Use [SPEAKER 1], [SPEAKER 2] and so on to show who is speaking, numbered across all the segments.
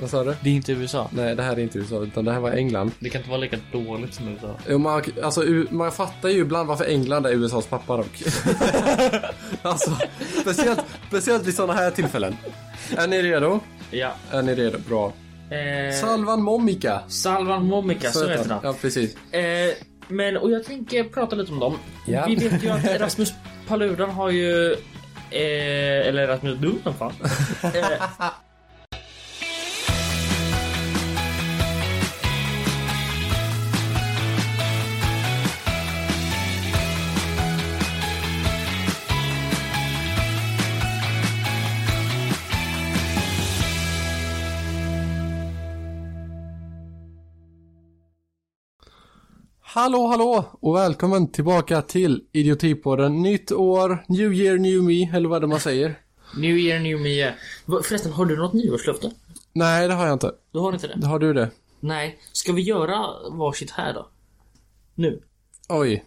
[SPEAKER 1] Vad sa du?
[SPEAKER 2] Det är inte USA.
[SPEAKER 1] Nej, det här är inte USA, utan det här var England.
[SPEAKER 2] Det kan inte vara lika dåligt som USA.
[SPEAKER 1] Jo, man, alltså, u- man fattar ju ibland varför England är USAs pappa dock. alltså, speciellt, speciellt vid sådana här tillfällen. Är ni redo?
[SPEAKER 2] Ja.
[SPEAKER 1] Är ni redo? Bra.
[SPEAKER 2] Eh,
[SPEAKER 1] Salvan Momika.
[SPEAKER 2] Salvan Momika, så heter han.
[SPEAKER 1] Ja, precis.
[SPEAKER 2] Eh, men, och jag tänker prata lite om dem.
[SPEAKER 1] Ja.
[SPEAKER 2] Vi vet ju att Rasmus Paludan har ju... Eh, eller Rasmus du, vad fan. Eh,
[SPEAKER 1] Hallå, hallå och välkommen tillbaka till Idiotipodden. Nytt år, new year, new me, eller vad det man säger.
[SPEAKER 2] new year, new me. Va- Förresten, har du något nyårslöfte?
[SPEAKER 1] Nej, det har jag inte.
[SPEAKER 2] Du har inte det?
[SPEAKER 1] Har du det?
[SPEAKER 2] Nej. Ska vi göra varsitt här då? Nu?
[SPEAKER 1] Oj.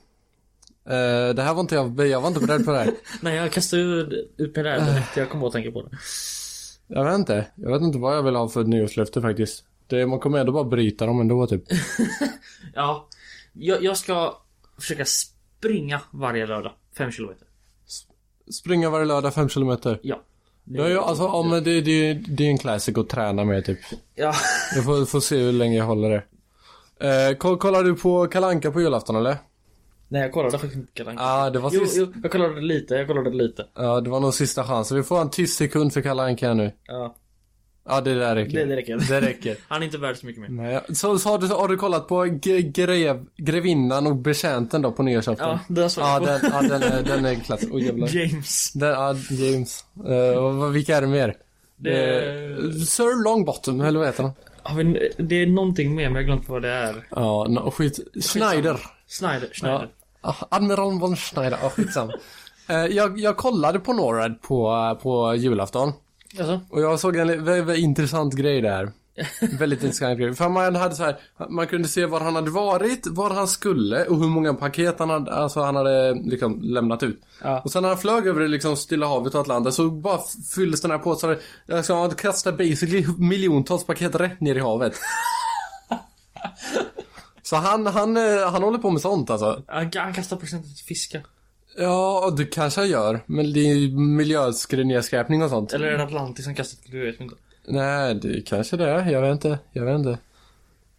[SPEAKER 1] Eh, det här var inte jag, jag var inte beredd på det här.
[SPEAKER 2] Nej, jag kastar ju ut mig där direkt. Jag kommer att tänka på det.
[SPEAKER 1] Jag vet inte. Jag vet inte vad jag vill ha för nyårslöfte faktiskt. Det, man kommer ändå bara bryta dem ändå typ.
[SPEAKER 2] Ja. Jag, jag ska försöka springa varje lördag. 5 kilometer.
[SPEAKER 1] Springa varje lördag 5 kilometer.
[SPEAKER 2] Ja.
[SPEAKER 1] Ja, ja, alltså om det, det, det är en classic att träna med typ.
[SPEAKER 2] Ja.
[SPEAKER 1] Jag får, får se hur länge jag håller det. Eh, koll- kollar du på Kalanka på julafton eller?
[SPEAKER 2] Nej, jag kollade faktiskt inte Kalle Anka.
[SPEAKER 1] Ja, det var
[SPEAKER 2] Jo,
[SPEAKER 1] sist.
[SPEAKER 2] jo, jag kollade lite, jag kollade lite.
[SPEAKER 1] Ja, det var nog sista chansen. Vi får en tyst sekund för Kalle Anka här nu.
[SPEAKER 2] Ja,
[SPEAKER 1] Ja, det där räcker.
[SPEAKER 2] det, det räcker.
[SPEAKER 1] Det räcker.
[SPEAKER 2] Han är inte värd så mycket mer.
[SPEAKER 1] Nej, så, så har, du, har du kollat på G- grev, Grevinnan och Betjänten då på nyårsafton?
[SPEAKER 2] Ja, den såg
[SPEAKER 1] Ja,
[SPEAKER 2] jag på.
[SPEAKER 1] den, ja, den, är- den är klass. Oj jävlar.
[SPEAKER 2] James.
[SPEAKER 1] Den, ja, James. Eh, och vad- vilka är det mer? Eh,
[SPEAKER 2] Det,
[SPEAKER 1] Sir Longbottom, eller vad heter han?
[SPEAKER 2] har vi, det är någonting mer, men jag har glömt vad det är.
[SPEAKER 1] Ja, no, skit. Schneider.
[SPEAKER 2] Schneider. Schneider.
[SPEAKER 1] Ah, Admiral von Schneider. Ja, skitsam. Eh, jag, jag kollade på NORAD på, eh, på julafton.
[SPEAKER 2] Alltså,
[SPEAKER 1] Och jag såg en väldigt, väldigt intressant grej där. Väldigt intressant grej. För man hade så här, man kunde se var han hade varit, var han skulle och hur många paket han hade, alltså han hade liksom lämnat ut.
[SPEAKER 2] Ja.
[SPEAKER 1] Och sen när han flög över det liksom Stilla havet och Atlanten så bara fylldes den här påsen. Alltså han kastade basically miljontals paket rätt ner i havet. Så han, han, eh, han håller på med sånt alltså.
[SPEAKER 2] han, han kastar presenter till fiskar.
[SPEAKER 1] Ja, det kanske han gör. Men det är ju miljöskräpning och sånt.
[SPEAKER 2] Eller är det Atlantis han kastar till? Du vet inte.
[SPEAKER 1] Nej, det kanske det är. Jag vet inte. Jag vet inte.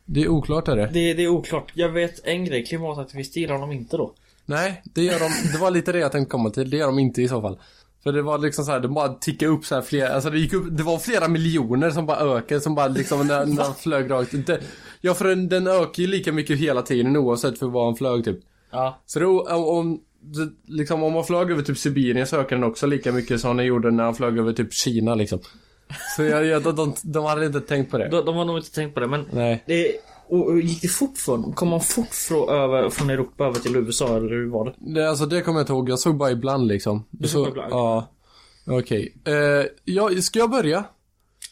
[SPEAKER 1] Det är oklart är det.
[SPEAKER 2] Det, det är oklart. Jag vet en grej. Klimataktivister gillar honom inte då.
[SPEAKER 1] Nej, det gör de. Det var lite det jag tänkte komma till. Det gör de inte i så fall. För det var liksom så här, det bara tickade upp så här flera, alltså det gick upp, det var flera miljoner som bara ökade som bara liksom när, när han flög rakt. Det, ja för den, den ökar ju lika mycket hela tiden oavsett för var han flög typ.
[SPEAKER 2] Ja.
[SPEAKER 1] Så då, om, om, det- liksom, om man flög över typ Sibirien så ökade den också lika mycket som den gjorde när han flög över typ Kina liksom. Så jag, jag, de, de, de hade inte tänkt på det.
[SPEAKER 2] De, de har nog inte tänkt på det, men
[SPEAKER 1] Nej.
[SPEAKER 2] det... Och, och gick det fort för honom? Kom han fort från, över, från Europa över till USA eller hur var det?
[SPEAKER 1] Det, alltså det kommer jag inte ihåg. Jag såg bara ibland liksom. Du
[SPEAKER 2] såg bara ibland?
[SPEAKER 1] Ja. Okej. Eh, jag, ska jag börja?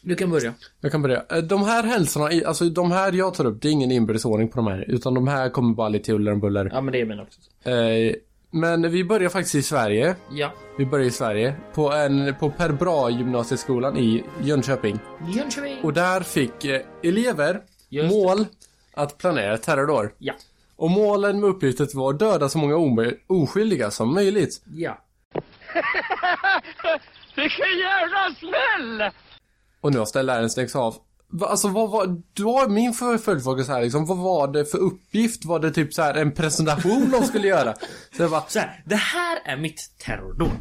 [SPEAKER 2] Du kan börja.
[SPEAKER 1] Jag kan börja. Eh, de här händelserna, i- alltså de här jag tar upp, det är ingen inbördes ordning på de här. Utan de här kommer bara lite huller om buller.
[SPEAKER 2] Ja men det är min också.
[SPEAKER 1] Eh, men vi börjar faktiskt i Sverige.
[SPEAKER 2] Ja.
[SPEAKER 1] Vi börjar i Sverige. På, en, på Per Bra gymnasieskolan i Jönköping.
[SPEAKER 2] Jönköping.
[SPEAKER 1] Och där fick eh, elever
[SPEAKER 2] Just det.
[SPEAKER 1] mål att planera terrordåd.
[SPEAKER 2] Ja.
[SPEAKER 1] Och målen med uppgiftet var att döda så många ome- oskyldiga som möjligt.
[SPEAKER 2] Ja.
[SPEAKER 3] Vilken jävla smäll!
[SPEAKER 1] Och nu har Stellaren stängts av. Va- Alltså vad var, då var min för- följdfråga så här liksom, vad var det för uppgift? Var det typ så här en presentation de skulle göra? Så jag bara,
[SPEAKER 2] Så här, det här är mitt terrordåd.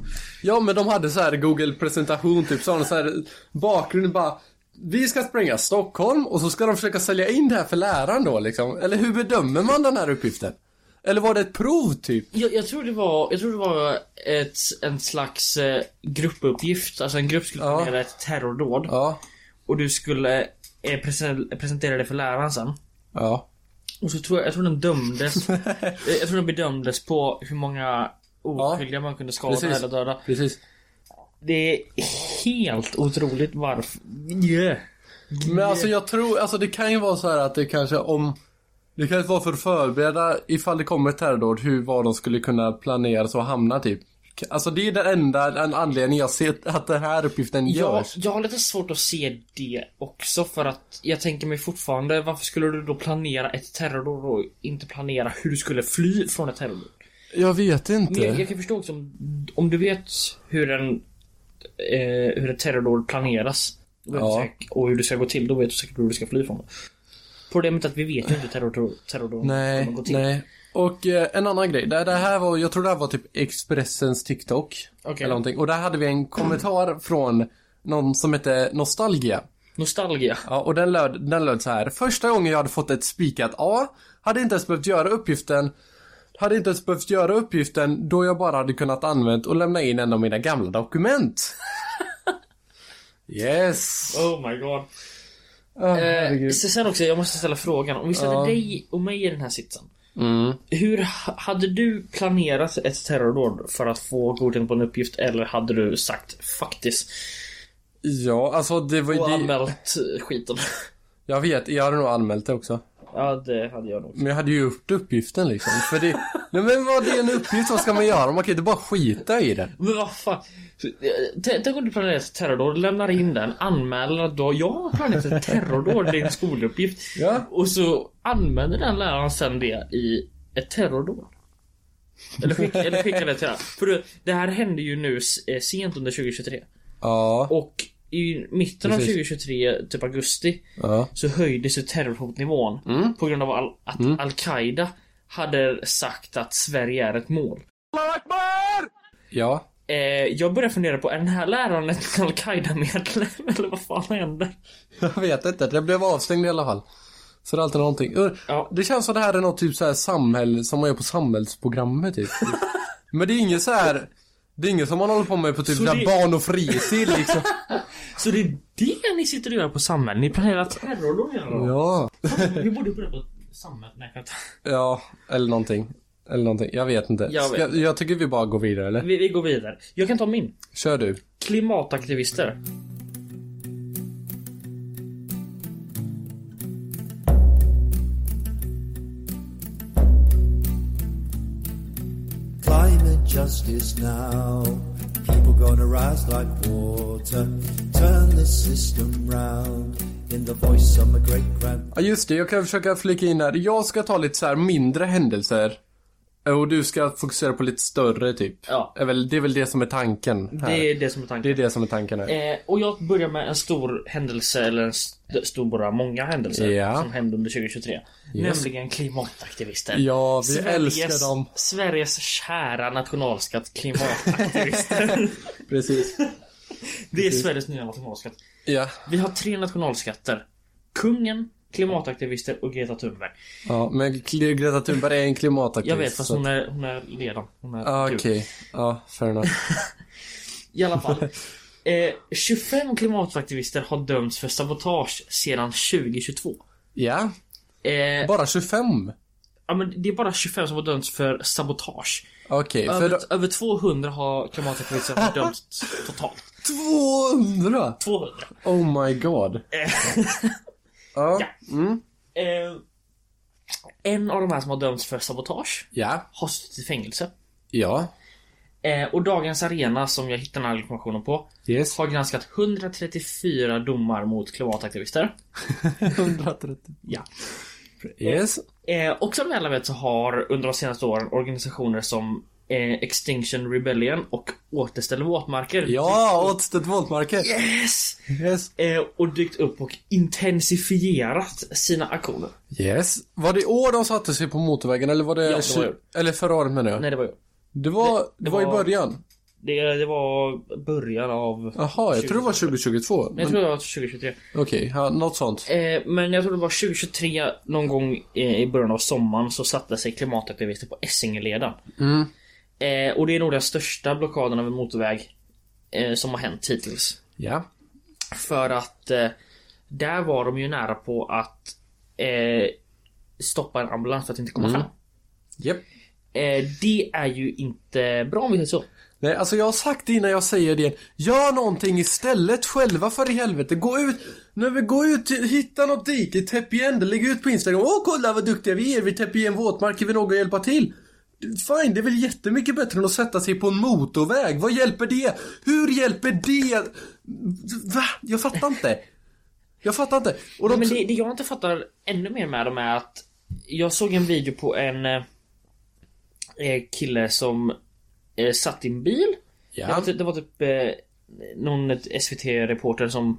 [SPEAKER 1] ja men de hade så här google presentation typ, så har de så här bakgrunden bara vi ska springa Stockholm och så ska de försöka sälja in det här för läraren då liksom. Eller hur bedömer man den här uppgiften? Eller var det ett prov typ?
[SPEAKER 2] Jag, jag tror det var, jag tror det var ett, en slags eh, gruppuppgift. Alltså en grupp skulle
[SPEAKER 1] Ja.
[SPEAKER 2] planera ett terrordåd.
[SPEAKER 1] Ja.
[SPEAKER 2] Och du skulle eh, presen- presentera det för läraren sen.
[SPEAKER 1] Ja.
[SPEAKER 2] Och så tror jag, jag tror den dömdes. eh, jag tror den bedömdes på hur många oskyldiga man kunde skada
[SPEAKER 1] Precis.
[SPEAKER 2] eller döda.
[SPEAKER 1] Precis.
[SPEAKER 2] Det är helt otroligt varför... Yeah.
[SPEAKER 1] Men alltså jag tror, alltså det kan ju vara så här att det kanske om Det kanske var för att förbereda ifall det kommer ett terrordåd hur vad de skulle kunna planera så hamna typ Alltså det är den enda en anledningen jag ser att den här uppgiften
[SPEAKER 2] Jag,
[SPEAKER 1] görs.
[SPEAKER 2] jag har lite svårt att se det också för att jag tänker mig fortfarande varför skulle du då planera ett terrordåd och inte planera hur du skulle fly från ett terrordåd?
[SPEAKER 1] Jag vet inte.
[SPEAKER 2] Men jag, jag kan förstå också om, om du vet hur en eh, hur ett terrordåd planeras då vet du
[SPEAKER 1] Ja.
[SPEAKER 2] säkert- och hur det ska gå till, då vet du säkert hur du ska fly från det. Problemet är att vi vet ju inte hur terrordåd terrordåden
[SPEAKER 1] Nej,
[SPEAKER 2] gå till.
[SPEAKER 1] nej. Och eh, en annan grej. Det, det här var, jag tror det här var typ Expressens TikTok.
[SPEAKER 2] Okej.
[SPEAKER 1] Eller någonting. Och där hade vi en kommentar från någon som hette Nostalgia.
[SPEAKER 2] Nostalgia.
[SPEAKER 1] Ja, och den löd, den löd så här. Första gången jag hade fått ett spikat A hade inte ens behövt göra uppgiften hade inte ens behövt göra uppgiften då jag bara hade kunnat använt och lämna in en av mina gamla dokument. yes!
[SPEAKER 2] Oh my god.
[SPEAKER 1] Oh,
[SPEAKER 2] Eh, så sen också, jag måste ställa frågan. Om vi sätter
[SPEAKER 1] Ja.
[SPEAKER 2] dig och mig i den här sitsen.
[SPEAKER 1] Mm.
[SPEAKER 2] Hur h- hade du planerat ett terrordåd för att få godkänt på en uppgift eller hade du sagt faktiskt
[SPEAKER 1] Ja, alltså det var
[SPEAKER 2] och
[SPEAKER 1] ju... Det,
[SPEAKER 2] anmält skiten?
[SPEAKER 1] jag vet, jag hade nog anmält det också.
[SPEAKER 2] ja, det hade jag nog.
[SPEAKER 1] Men jag hade ju gjort uppgiften liksom. För det, nej men vad är en uppgift? Vad ska man göra? Man kan ju inte bara skita i den.
[SPEAKER 2] Men vad fan? Så, eh, t- Tänk om du planerar ett terrordåd, lämnar in den, anmäler att du har- jag har planerat ett terrordåd, det är en skoluppgift.
[SPEAKER 1] Ja.
[SPEAKER 2] Och så använder den läraren sen det i ett terrordåd. Eller, skick, eller skickar det till den. För du, det här hände ju nu s- eh, sent under 2023.
[SPEAKER 1] Ja.
[SPEAKER 2] Och i mitten av
[SPEAKER 1] Precis.
[SPEAKER 2] 2023, typ augusti,
[SPEAKER 1] Ja.
[SPEAKER 2] så höjdes ju terrorhotnivån
[SPEAKER 1] Mm.
[SPEAKER 2] på grund av al att Al-Qaida hade sagt att Sverige är ett mål.
[SPEAKER 1] Ja.
[SPEAKER 2] Eh, jag börjar fundera på, är den här läraren en Al-Qaida-medlem? Eller vad fan händer?
[SPEAKER 1] Jag vet inte. Det blev avstängd i alla fall. Så det är alltid någonting. Ur-
[SPEAKER 2] Ja.
[SPEAKER 1] Det känns som det här är något typ så här samhäll som man gör på samhällsprogrammet typ. men det är inget så här. Det är inget som man håller på med på typ
[SPEAKER 2] Så
[SPEAKER 1] så här
[SPEAKER 2] det-
[SPEAKER 1] barn och fritid liksom.
[SPEAKER 2] Så det är det ni sitter och gör på samhället? Ni planerar terrordåd hela dagen?
[SPEAKER 1] ja.
[SPEAKER 2] Vi borde börja på samhället. Nej, vänta.
[SPEAKER 1] Ja. Eller någonting. Eller någonting. Jag vet inte.
[SPEAKER 2] Jag vet
[SPEAKER 1] Ska, jag tycker vi bara går vidare eller?
[SPEAKER 2] Vi, vi går vidare. Jag kan ta min.
[SPEAKER 1] Kör du.
[SPEAKER 2] Klimataktivister.
[SPEAKER 4] Climate justice now. People gonna rise like water. Turn this system round. In the voice of my great grand.
[SPEAKER 1] Ja just det, jag kan försöka flika in här. Jag ska ta lite så här mindre händelser. Och du ska fokusera på lite större typ.
[SPEAKER 2] Ja.
[SPEAKER 1] Är väl- Det är väl det som är tanken här.
[SPEAKER 2] Det är det som är tanken.
[SPEAKER 1] det, är det som är tanken här.
[SPEAKER 2] Eh, och jag börjar med en stor händelse, eller en st- stor, många händelser
[SPEAKER 1] Ja.
[SPEAKER 2] som hände under 2023. Nämligen klimataktivister.
[SPEAKER 1] Ja, vi älskar dem.
[SPEAKER 2] Sveriges kära nationalskatt, klimataktivister.
[SPEAKER 1] Precis.
[SPEAKER 2] det är Sveriges nya nationalskatt.
[SPEAKER 1] Ja.
[SPEAKER 2] Vi har tre nationalskatter. Kungen, klimataktivister och Greta Thunberg.
[SPEAKER 1] ja, men Gre- Greta Thunberg är en klimataktivist.
[SPEAKER 2] Jag vet fast
[SPEAKER 1] så-
[SPEAKER 2] hon är, hon är ledaren. Hon är
[SPEAKER 1] Ja,
[SPEAKER 2] kul.
[SPEAKER 1] Okej, ja fair enough.
[SPEAKER 2] I alla fall. Eh, 25 klimataktivister har dömts för sabotage sedan 2022.
[SPEAKER 1] Ja,
[SPEAKER 2] Eh,
[SPEAKER 1] bara 25?
[SPEAKER 2] Ja men det är bara 25 som har dömts för sabotage.
[SPEAKER 1] Okej, för
[SPEAKER 2] Över,
[SPEAKER 1] då...
[SPEAKER 2] över 200 har klimataktivister dömts totalt.
[SPEAKER 1] 200!
[SPEAKER 2] 200.
[SPEAKER 1] Oh my god. Ja. Mm.
[SPEAKER 2] Eh, en av de här som har dömts för sabotage
[SPEAKER 1] Ja.
[SPEAKER 2] har suttit i fängelse.
[SPEAKER 1] Ja.
[SPEAKER 2] Eh, och Dagens Arena, som jag hittade den här informationen på,
[SPEAKER 1] Yes.
[SPEAKER 2] har granskat 134 domar mot klimataktivister.
[SPEAKER 1] 130.
[SPEAKER 2] Ja.
[SPEAKER 1] Yes.
[SPEAKER 2] Eh, och som vi alla vet så har under de senaste åren organisationer som eh, Extinction Rebellion och Återställ våtmarker
[SPEAKER 1] Ja, återställt våtmarker.
[SPEAKER 2] Yes!
[SPEAKER 1] Yes.
[SPEAKER 2] eh, och dykt upp och intensifierat sina aktioner.
[SPEAKER 1] Yes. Var det i år de satte sig på motorvägen eller var det...
[SPEAKER 2] Ja, det var i år.
[SPEAKER 1] Eller förra året menar jag.
[SPEAKER 2] Nej, det var jag.
[SPEAKER 1] Det var, det, var i
[SPEAKER 2] var-
[SPEAKER 1] början.
[SPEAKER 2] Det, det var början av...
[SPEAKER 1] Jaha, jag tror det var 2022.
[SPEAKER 2] Jag
[SPEAKER 1] Men-
[SPEAKER 2] tror det var 2023.
[SPEAKER 1] Okej, ja, något sånt.
[SPEAKER 2] Eh, men jag tror det var 2023 någon gång eh, i början av sommaren så satte sig klimataktivister på Essingeleden. Eh, och det är nog den största blockaden av en motorväg eh, som har hänt hittills.
[SPEAKER 1] Ja.
[SPEAKER 2] För att eh, där var de ju nära på att eh, stoppa en ambulans för att inte
[SPEAKER 1] Mm.
[SPEAKER 2] komma fram.
[SPEAKER 1] Japp.
[SPEAKER 2] Eh, det är ju inte bra om vi säger så.
[SPEAKER 1] Nej, alltså jag har sagt det innan jag säger det igen. Gör någonting istället själva för i helvete. Gå ut, när vi går ut, till- hitta något dike, täpp igen det, lägg ut på Instagram. Åh kolla vad duktiga vi är, vi täpper igen våtmarker, vi någon hjälpa till. Fine, det är väl jättemycket bättre än att sätta sig på en motorväg. Vad hjälper det? Hur hjälper det? Va? Jag fattar inte. Jag fattar inte. Och de...
[SPEAKER 2] Men det, det jag inte fattar ännu mer med dem är att Jag såg en video på en eh, eh, Kille som eh, Satt i en bil
[SPEAKER 1] Ja.
[SPEAKER 2] det, var typ, det var typ eh, Någon SVT-reporter som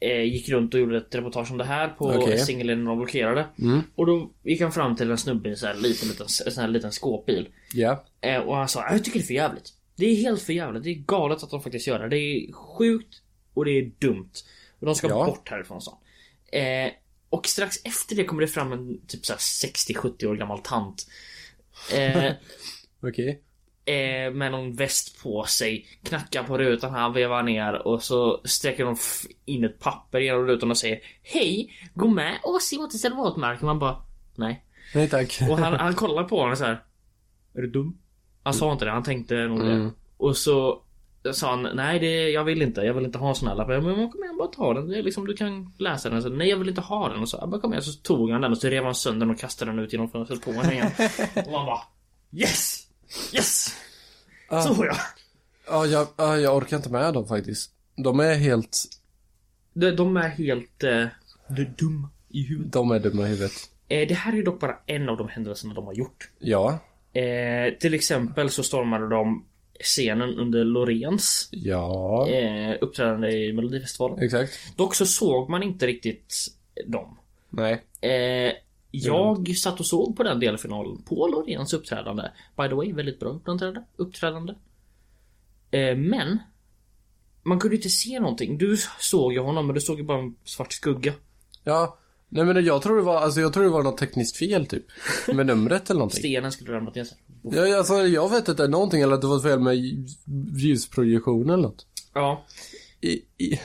[SPEAKER 2] eh, Gick runt och gjorde ett reportage om det här på
[SPEAKER 1] Okej. Mm.
[SPEAKER 2] singeln de blockerade Och då gick han fram till en snubbe i en sån här liten, liten, en sån här liten skåpbil
[SPEAKER 1] Ja.
[SPEAKER 2] Eh, Och han sa jag tycker det är för jävligt. Det är helt för jävligt. Det är galet att de faktiskt gör det. Det är sjukt och det är dumt. Och de ska
[SPEAKER 1] Ja.
[SPEAKER 2] bort härifrån sa han. eh, Och strax efter det kommer det fram en typ så här 60-70 år gammal tant. Eh,
[SPEAKER 1] Okej.
[SPEAKER 2] eh, med någon väst på sig. Knackar på rutan, han vevar ner och så sträcker de f- in ett papper genom rutan och säger Hej! Gå med oss i återställd våtmark. Och Man bara Nej.
[SPEAKER 1] Nej tack.
[SPEAKER 2] Och han, han kollar på honom så här. Är du dum? Han sa inte det, han tänkte nog det.
[SPEAKER 1] Mm.
[SPEAKER 2] Och så sa han, nej det, jag vill inte, jag vill inte ha en sån här lapp. Jag bara, Men kom igen, bara ta den. Det är liksom, du kan läsa den. Så, nej jag vill inte ha den. Och så, "Ja, bara kom igen. Så tog han den och så rev han sönder den och kastade den ut genom fönstret på honom igen. och man bara, yes! Yes!
[SPEAKER 1] Ah.
[SPEAKER 2] Så får jag.
[SPEAKER 1] Ja, jag, ja, jag orkar inte med dem faktiskt. De är helt...
[SPEAKER 2] De, de är helt eh, dumma i huvudet.
[SPEAKER 1] De är dumma i huvudet.
[SPEAKER 2] Eh, det här är ju dock bara en av de händelserna de har gjort.
[SPEAKER 1] Ja.
[SPEAKER 2] Eh, till exempel så stormade de scenen under Loreens
[SPEAKER 1] Ja.
[SPEAKER 2] eh, uppträdande i Melodifestivalen.
[SPEAKER 1] Exakt.
[SPEAKER 2] Dock så såg man inte riktigt dem.
[SPEAKER 1] Nej.
[SPEAKER 2] Eh, jag satt och såg på den delfinalen på Loreens uppträdande. By the way, väldigt bra uppträdande. uppträdande. Eh, men man kunde inte se någonting. Du såg ju honom men du såg ju bara en svart skugga.
[SPEAKER 1] Ja. Nej men jag tror det var, alltså jag tror det var något tekniskt fel typ. Med numret eller någonting.
[SPEAKER 2] Stenen skulle ramlat ner. sen.
[SPEAKER 1] Ja, alltså, jag vet inte, någonting eller att det var fel med ljusprojektion eller något.
[SPEAKER 2] Ja.
[SPEAKER 1] I, i,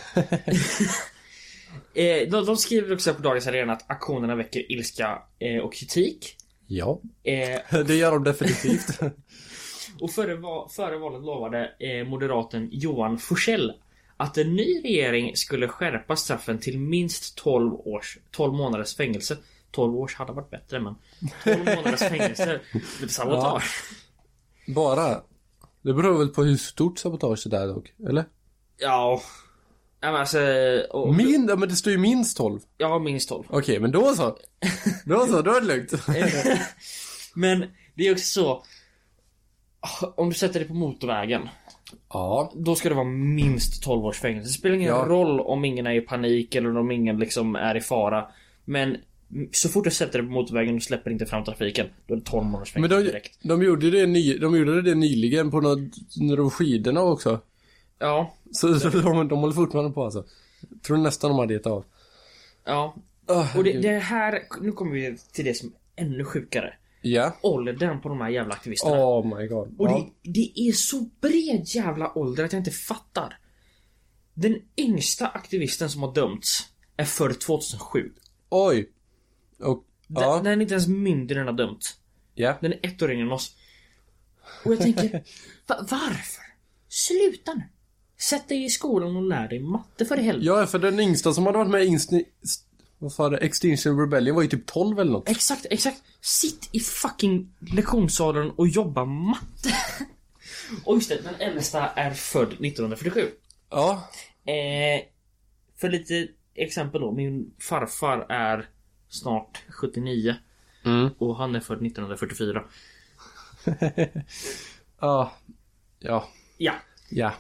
[SPEAKER 2] Eh, de, de skriver också på Dagens Arena att aktionerna väcker ilska eh, och kritik.
[SPEAKER 1] ja.
[SPEAKER 2] Eh,
[SPEAKER 1] Det gör de definitivt.
[SPEAKER 2] Och före, va- före valet lovade eh, moderaten Johan Forsell att en ny regering skulle skärpa straffen till minst 12, års, 12 månaders fängelse. 12 års hade varit bättre men 12 månaders fängelse med sabotage.
[SPEAKER 1] Bara. Det beror väl på hur stort sabotage det är dock, eller?
[SPEAKER 2] Ja. ja men alltså, och,
[SPEAKER 1] Min, ja, men det står ju minst 12.
[SPEAKER 2] ja, minst 12.
[SPEAKER 1] Okej, men då så. Då så, då är det lugnt.
[SPEAKER 2] Men det är också så. Om du sätter dig på motorvägen
[SPEAKER 1] Ja.
[SPEAKER 2] Då ska det vara minst 12 års fängelse. Det spelar ingen
[SPEAKER 1] Ja.
[SPEAKER 2] roll om ingen är i panik eller om ingen liksom är i fara. Men så fort du sätter dig på motorvägen och släpper inte fram trafiken, då är det 12 månaders
[SPEAKER 1] Men
[SPEAKER 2] fängelse
[SPEAKER 1] de,
[SPEAKER 2] direkt.
[SPEAKER 1] de, gjorde det ny, de gjorde det nyligen på något, när de skidorna också.
[SPEAKER 2] Ja,
[SPEAKER 1] Så, så de, de håller fortfarande på alltså. Tror nästan de hade gett av.
[SPEAKER 2] ja.
[SPEAKER 1] Åh,
[SPEAKER 2] Och det,
[SPEAKER 1] herregud.
[SPEAKER 2] det här, nu kommer vi till det som är ännu sjukare.
[SPEAKER 1] Ja.
[SPEAKER 2] Åldern på de här jävla aktivisterna.
[SPEAKER 1] Oh my god.
[SPEAKER 2] Och
[SPEAKER 1] Ja.
[SPEAKER 2] det, det är så bred jävla ålder att jag inte fattar. Den yngsta aktivisten som har dömts är född 2007.
[SPEAKER 1] Oj. Och,
[SPEAKER 2] Ja.
[SPEAKER 1] ja.
[SPEAKER 2] Den är inte ens mindre än har dömts.
[SPEAKER 1] Ja.
[SPEAKER 2] Den är ett år yngre än oss. Och jag tänker, va- varför? Sluta nu. Sätt dig i skolan och lär dig matte för i helvete.
[SPEAKER 1] Ja, för den yngsta som hade varit med i Insti- st- vad fan är det? Extinction Rebellion var ju typ 12 eller något.
[SPEAKER 2] Exakt, exakt. Sitt i fucking lektionssalen och jobba matte. och just det, den äldsta är född 1947.
[SPEAKER 1] Ja.
[SPEAKER 2] Eh, för lite exempel då. Min farfar är snart 79. Och han är född 1944.
[SPEAKER 1] Ja. Ja.
[SPEAKER 2] Ja,
[SPEAKER 1] Ja.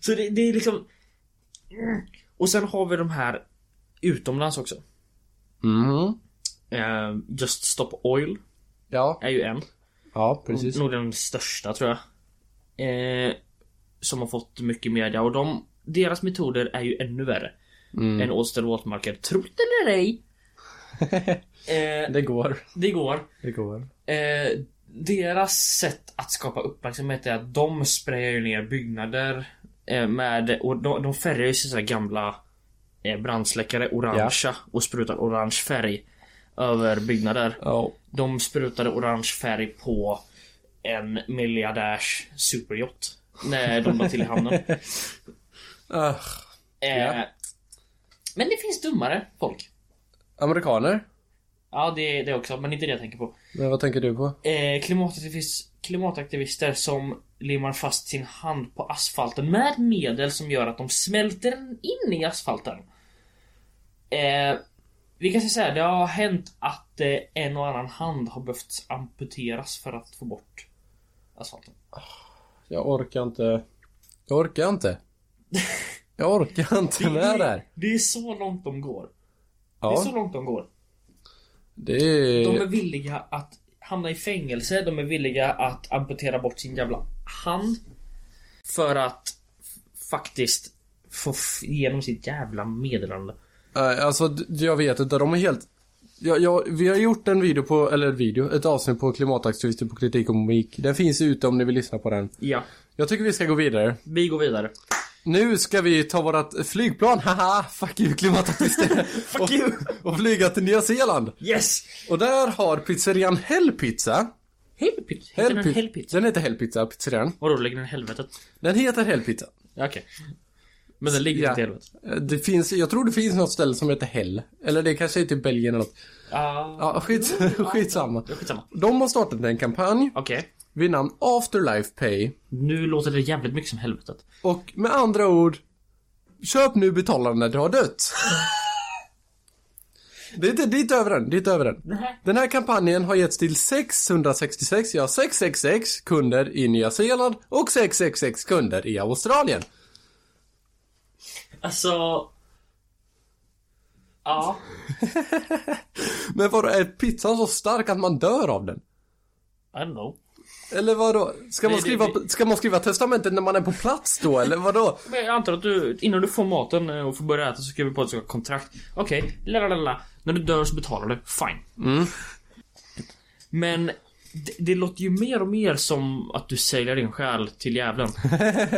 [SPEAKER 2] Så det, det är liksom... Och sen har vi de här utomlands också.
[SPEAKER 1] Mhm.
[SPEAKER 2] Eh, Just Stop Oil
[SPEAKER 1] Ja.
[SPEAKER 2] är ju en.
[SPEAKER 1] Ja, precis.
[SPEAKER 2] Nog den största tror jag. Eh, som har fått mycket media och de, deras metoder är ju ännu värre.
[SPEAKER 1] Mm.
[SPEAKER 2] Än Ålster våtmarker. Trott eller ej. eh,
[SPEAKER 1] Det går.
[SPEAKER 2] det går.
[SPEAKER 1] Det går.
[SPEAKER 2] Eh, deras sätt att skapa uppmärksamhet är att de sprayar ju ner byggnader eh, med, och de, de färgar ju sina gamla eh, brandsläckare orangea och sprutar orange färg över byggnader.
[SPEAKER 1] Ja.
[SPEAKER 2] De sprutade orange färg på en miljardärs superyacht när de la till i hamnen.
[SPEAKER 1] Ah.
[SPEAKER 2] Eh,
[SPEAKER 1] Ja.
[SPEAKER 2] Men det finns dummare folk.
[SPEAKER 1] Amerikaner?
[SPEAKER 2] Ja, det, det också, men inte det jag tänker på.
[SPEAKER 1] Men vad tänker du på?
[SPEAKER 2] Eh, klimataktivist, klimataktivister som limmar fast sin hand på asfalten med medel som gör att de smälter in i asfalten. Eh, vi kan säga så här, det har hänt att eh, en och annan hand har behövt amputeras för att få bort asfalten.
[SPEAKER 1] Jag orkar inte. Jag orkar inte. Jag orkar inte med det här.
[SPEAKER 2] det är så långt de går. Det är så
[SPEAKER 1] Ja,
[SPEAKER 2] långt de går.
[SPEAKER 1] det
[SPEAKER 2] De är
[SPEAKER 1] är...
[SPEAKER 2] villiga att hamna i fängelse, de är villiga att amputera bort sin jävla hand. För att f- faktiskt få f- igenom sitt jävla meddelande.
[SPEAKER 1] Nej, Alltså, d- jag vet inte. De är helt... Jag, jag, vi har gjort en video på, eller en video, ett avsnitt på klimataktivister på kritik och moik. Den finns ute om ni vill lyssna på den.
[SPEAKER 2] Ja,
[SPEAKER 1] Jag tycker vi ska gå vidare.
[SPEAKER 2] vi går vidare.
[SPEAKER 1] Nu ska vi ta vårat flygplan, haha, fuck you klimataktivister. fuck
[SPEAKER 2] you.
[SPEAKER 1] Och, och flyga till Nya Zeeland.
[SPEAKER 2] Yes!
[SPEAKER 1] Och där har pizzerian Hellpizza.
[SPEAKER 2] Hellpizza. Heter den
[SPEAKER 1] Hellpi-
[SPEAKER 2] Hellpizza?
[SPEAKER 1] Den heter Hellpizza, pizzerian.
[SPEAKER 2] Vadå, ligger den i helvetet?
[SPEAKER 1] Den heter Hellpizza.
[SPEAKER 2] Ja, Okej. Men den ligger
[SPEAKER 1] Ja.
[SPEAKER 2] inte i helvetet.
[SPEAKER 1] Eh, Det finns, jag tror det finns något ställe som heter Hell. Eller det kanske är typ Belgien eller något.
[SPEAKER 2] Ah,
[SPEAKER 1] Ja, skits, skitsamma.
[SPEAKER 2] ja. Skitsamma.
[SPEAKER 1] De har startat en kampanj
[SPEAKER 2] Okej.
[SPEAKER 1] vid namn Afterlife Pay.
[SPEAKER 2] Nu låter det jävligt mycket som helvetet.
[SPEAKER 1] Och med andra ord, köp nu, betala när du har dött. det, är inte det är inte över än, det är inte över än. Den här kampanjen har getts till 666, ja 666 kunder i Nya Zeeland och 666 kunder i Australien.
[SPEAKER 2] Alltså... Ja.
[SPEAKER 1] Men vadå, är pizzan så stark att man dör av den?
[SPEAKER 2] I don't know.
[SPEAKER 1] Eller vadå? Ska man
[SPEAKER 2] Det- det-
[SPEAKER 1] skriva,
[SPEAKER 2] det-
[SPEAKER 1] ska man skriva testamentet när man är på plats då, eller vadå?
[SPEAKER 2] Men jag antar att du, innan du får maten eh, och får börja äta så skriver du på ett sånt kontrakt. Okej, la la, la la. När du dör så betalar du. Fine. Men det, det låter ju mer och mer som att du säljer din själ till djävulen.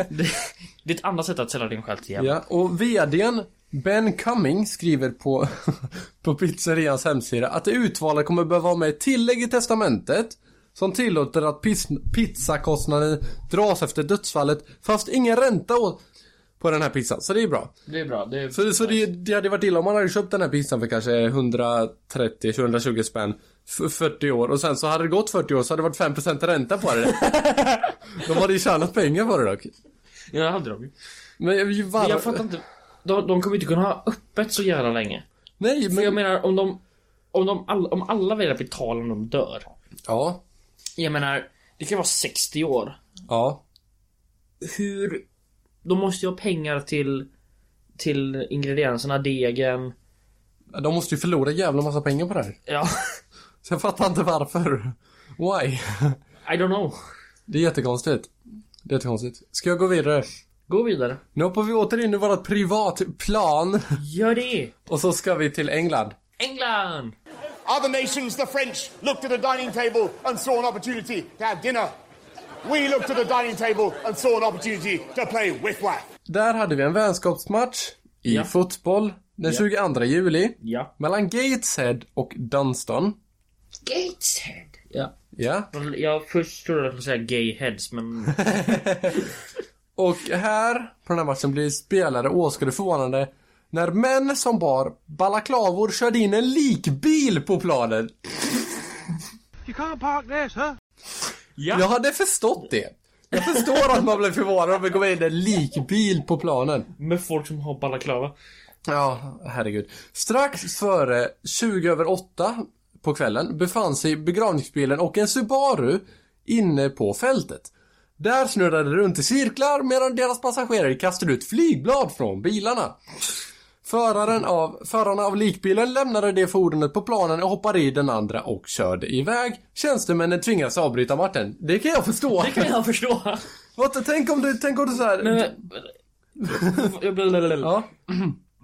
[SPEAKER 2] det, det är ett annat sätt att sälja din själ till djävulen.
[SPEAKER 1] Ja, och VDn Ben Cumming skriver på, på pizzerians hemsida att det utvalda kommer behöva ha med ett tillägg i testamentet som tillåter att pis, pizzakostnaden dras efter dödsfallet fast ingen ränta å- på den här pizzan, så det är bra.
[SPEAKER 2] Det är bra. Det är...
[SPEAKER 1] Så, så det, det hade varit illa om man hade köpt den här pizzan för kanske 130-120 spänn för 40 år och sen så hade det gått 40 år så hade det varit 5% ränta på det. De hade ju tjänat pengar på det dock.
[SPEAKER 2] Jag hade dem ju.
[SPEAKER 1] Men eh, jag, jag,
[SPEAKER 2] Men jag fattar inte. De, de kommer inte kunna ha öppet så jävla länge.
[SPEAKER 1] Nej,
[SPEAKER 2] För
[SPEAKER 1] men...
[SPEAKER 2] jag menar om de... Om, de all, om alla väljer att betala när de dör.
[SPEAKER 1] Ja.
[SPEAKER 2] Jag menar, det kan vara 60 år.
[SPEAKER 1] Ja.
[SPEAKER 2] hur... De måste ju ha pengar till, till ingredienserna, degen.
[SPEAKER 1] De måste ju förlora jävla massa pengar på det här.
[SPEAKER 2] Ja,
[SPEAKER 1] Så jag fattar inte varför. Why?
[SPEAKER 2] I don't know.
[SPEAKER 1] Det är jättekonstigt. Det är jättekonstigt. Ska jag gå vidare?
[SPEAKER 2] Gå vidare.
[SPEAKER 1] Nu hoppar vi åter in i vårt privatplan.
[SPEAKER 2] Gör det!
[SPEAKER 1] Och så ska vi till England.
[SPEAKER 2] England!
[SPEAKER 5] Other nations, the French, looked at the dining table and saw an opportunity to have dinner. We looked at the dining table and saw an opportunity to play whiff-waff.
[SPEAKER 1] Där hade vi en vänskapsmatch i
[SPEAKER 2] Ja.
[SPEAKER 1] fotboll den 22 juli.
[SPEAKER 2] Ja.
[SPEAKER 1] Mellan Gateshead och Dunston.
[SPEAKER 2] Gateshead. Ja.
[SPEAKER 1] Ja.
[SPEAKER 2] Jag först trodde att jag skulle säga gay heads, men...
[SPEAKER 1] Och här, på den här matchen, blir spelare åskådare förvånade när män som bar balaklavor körde in en likbil på planen.
[SPEAKER 6] You can't park there, sir.
[SPEAKER 1] Jag hade förstått det. Jag förstår att man blev förvånad om det kom in en likbil på planen.
[SPEAKER 2] Med folk som har balaklava. alltså.
[SPEAKER 1] Ja, herregud. Strax före 20 över 8 på kvällen befann sig begravningsbilen och en Subaru inne på fältet. Där snurrade det runt i cirklar medan deras passagerare kastade ut flygblad från bilarna. Föraren av, förarna av likbilen lämnade det fordonet på planen och hoppade i den andra och körde iväg. Tjänstemännen tvingades avbryta matchen. Det kan jag förstå.
[SPEAKER 2] Det kan jag förstå.
[SPEAKER 1] Vad, tänk om du, tänk om du så här...
[SPEAKER 2] Jag blir-
[SPEAKER 1] Ja.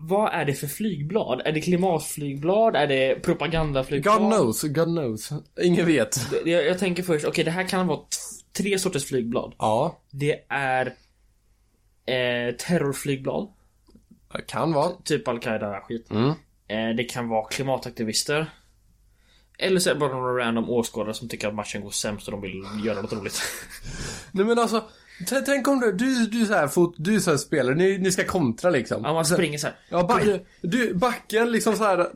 [SPEAKER 2] Vad är det för flygblad? Är det klimatflygblad? Är det
[SPEAKER 1] God
[SPEAKER 2] propagandaflygblad?
[SPEAKER 1] knows, God knows. Ingen vet.
[SPEAKER 2] Jag, jag tänker först, okej det här kan vara t- tre sorters flygblad.
[SPEAKER 1] Ja,
[SPEAKER 2] Det är eh, terrorflygblad,
[SPEAKER 1] kan vara.
[SPEAKER 2] typ Al-Qaida-skit. Eh, det kan vara klimataktivister. Eller så är det bara några random åskådare som tycker att matchen går sämst och de vill göra något roligt.
[SPEAKER 1] Nej men alltså, T- Tänk om du, du, du är så här, fot, du är så här spelare, ni, ni ska kontra liksom.
[SPEAKER 2] Ja, man springer så här.
[SPEAKER 1] Ja, back, du, backen liksom så här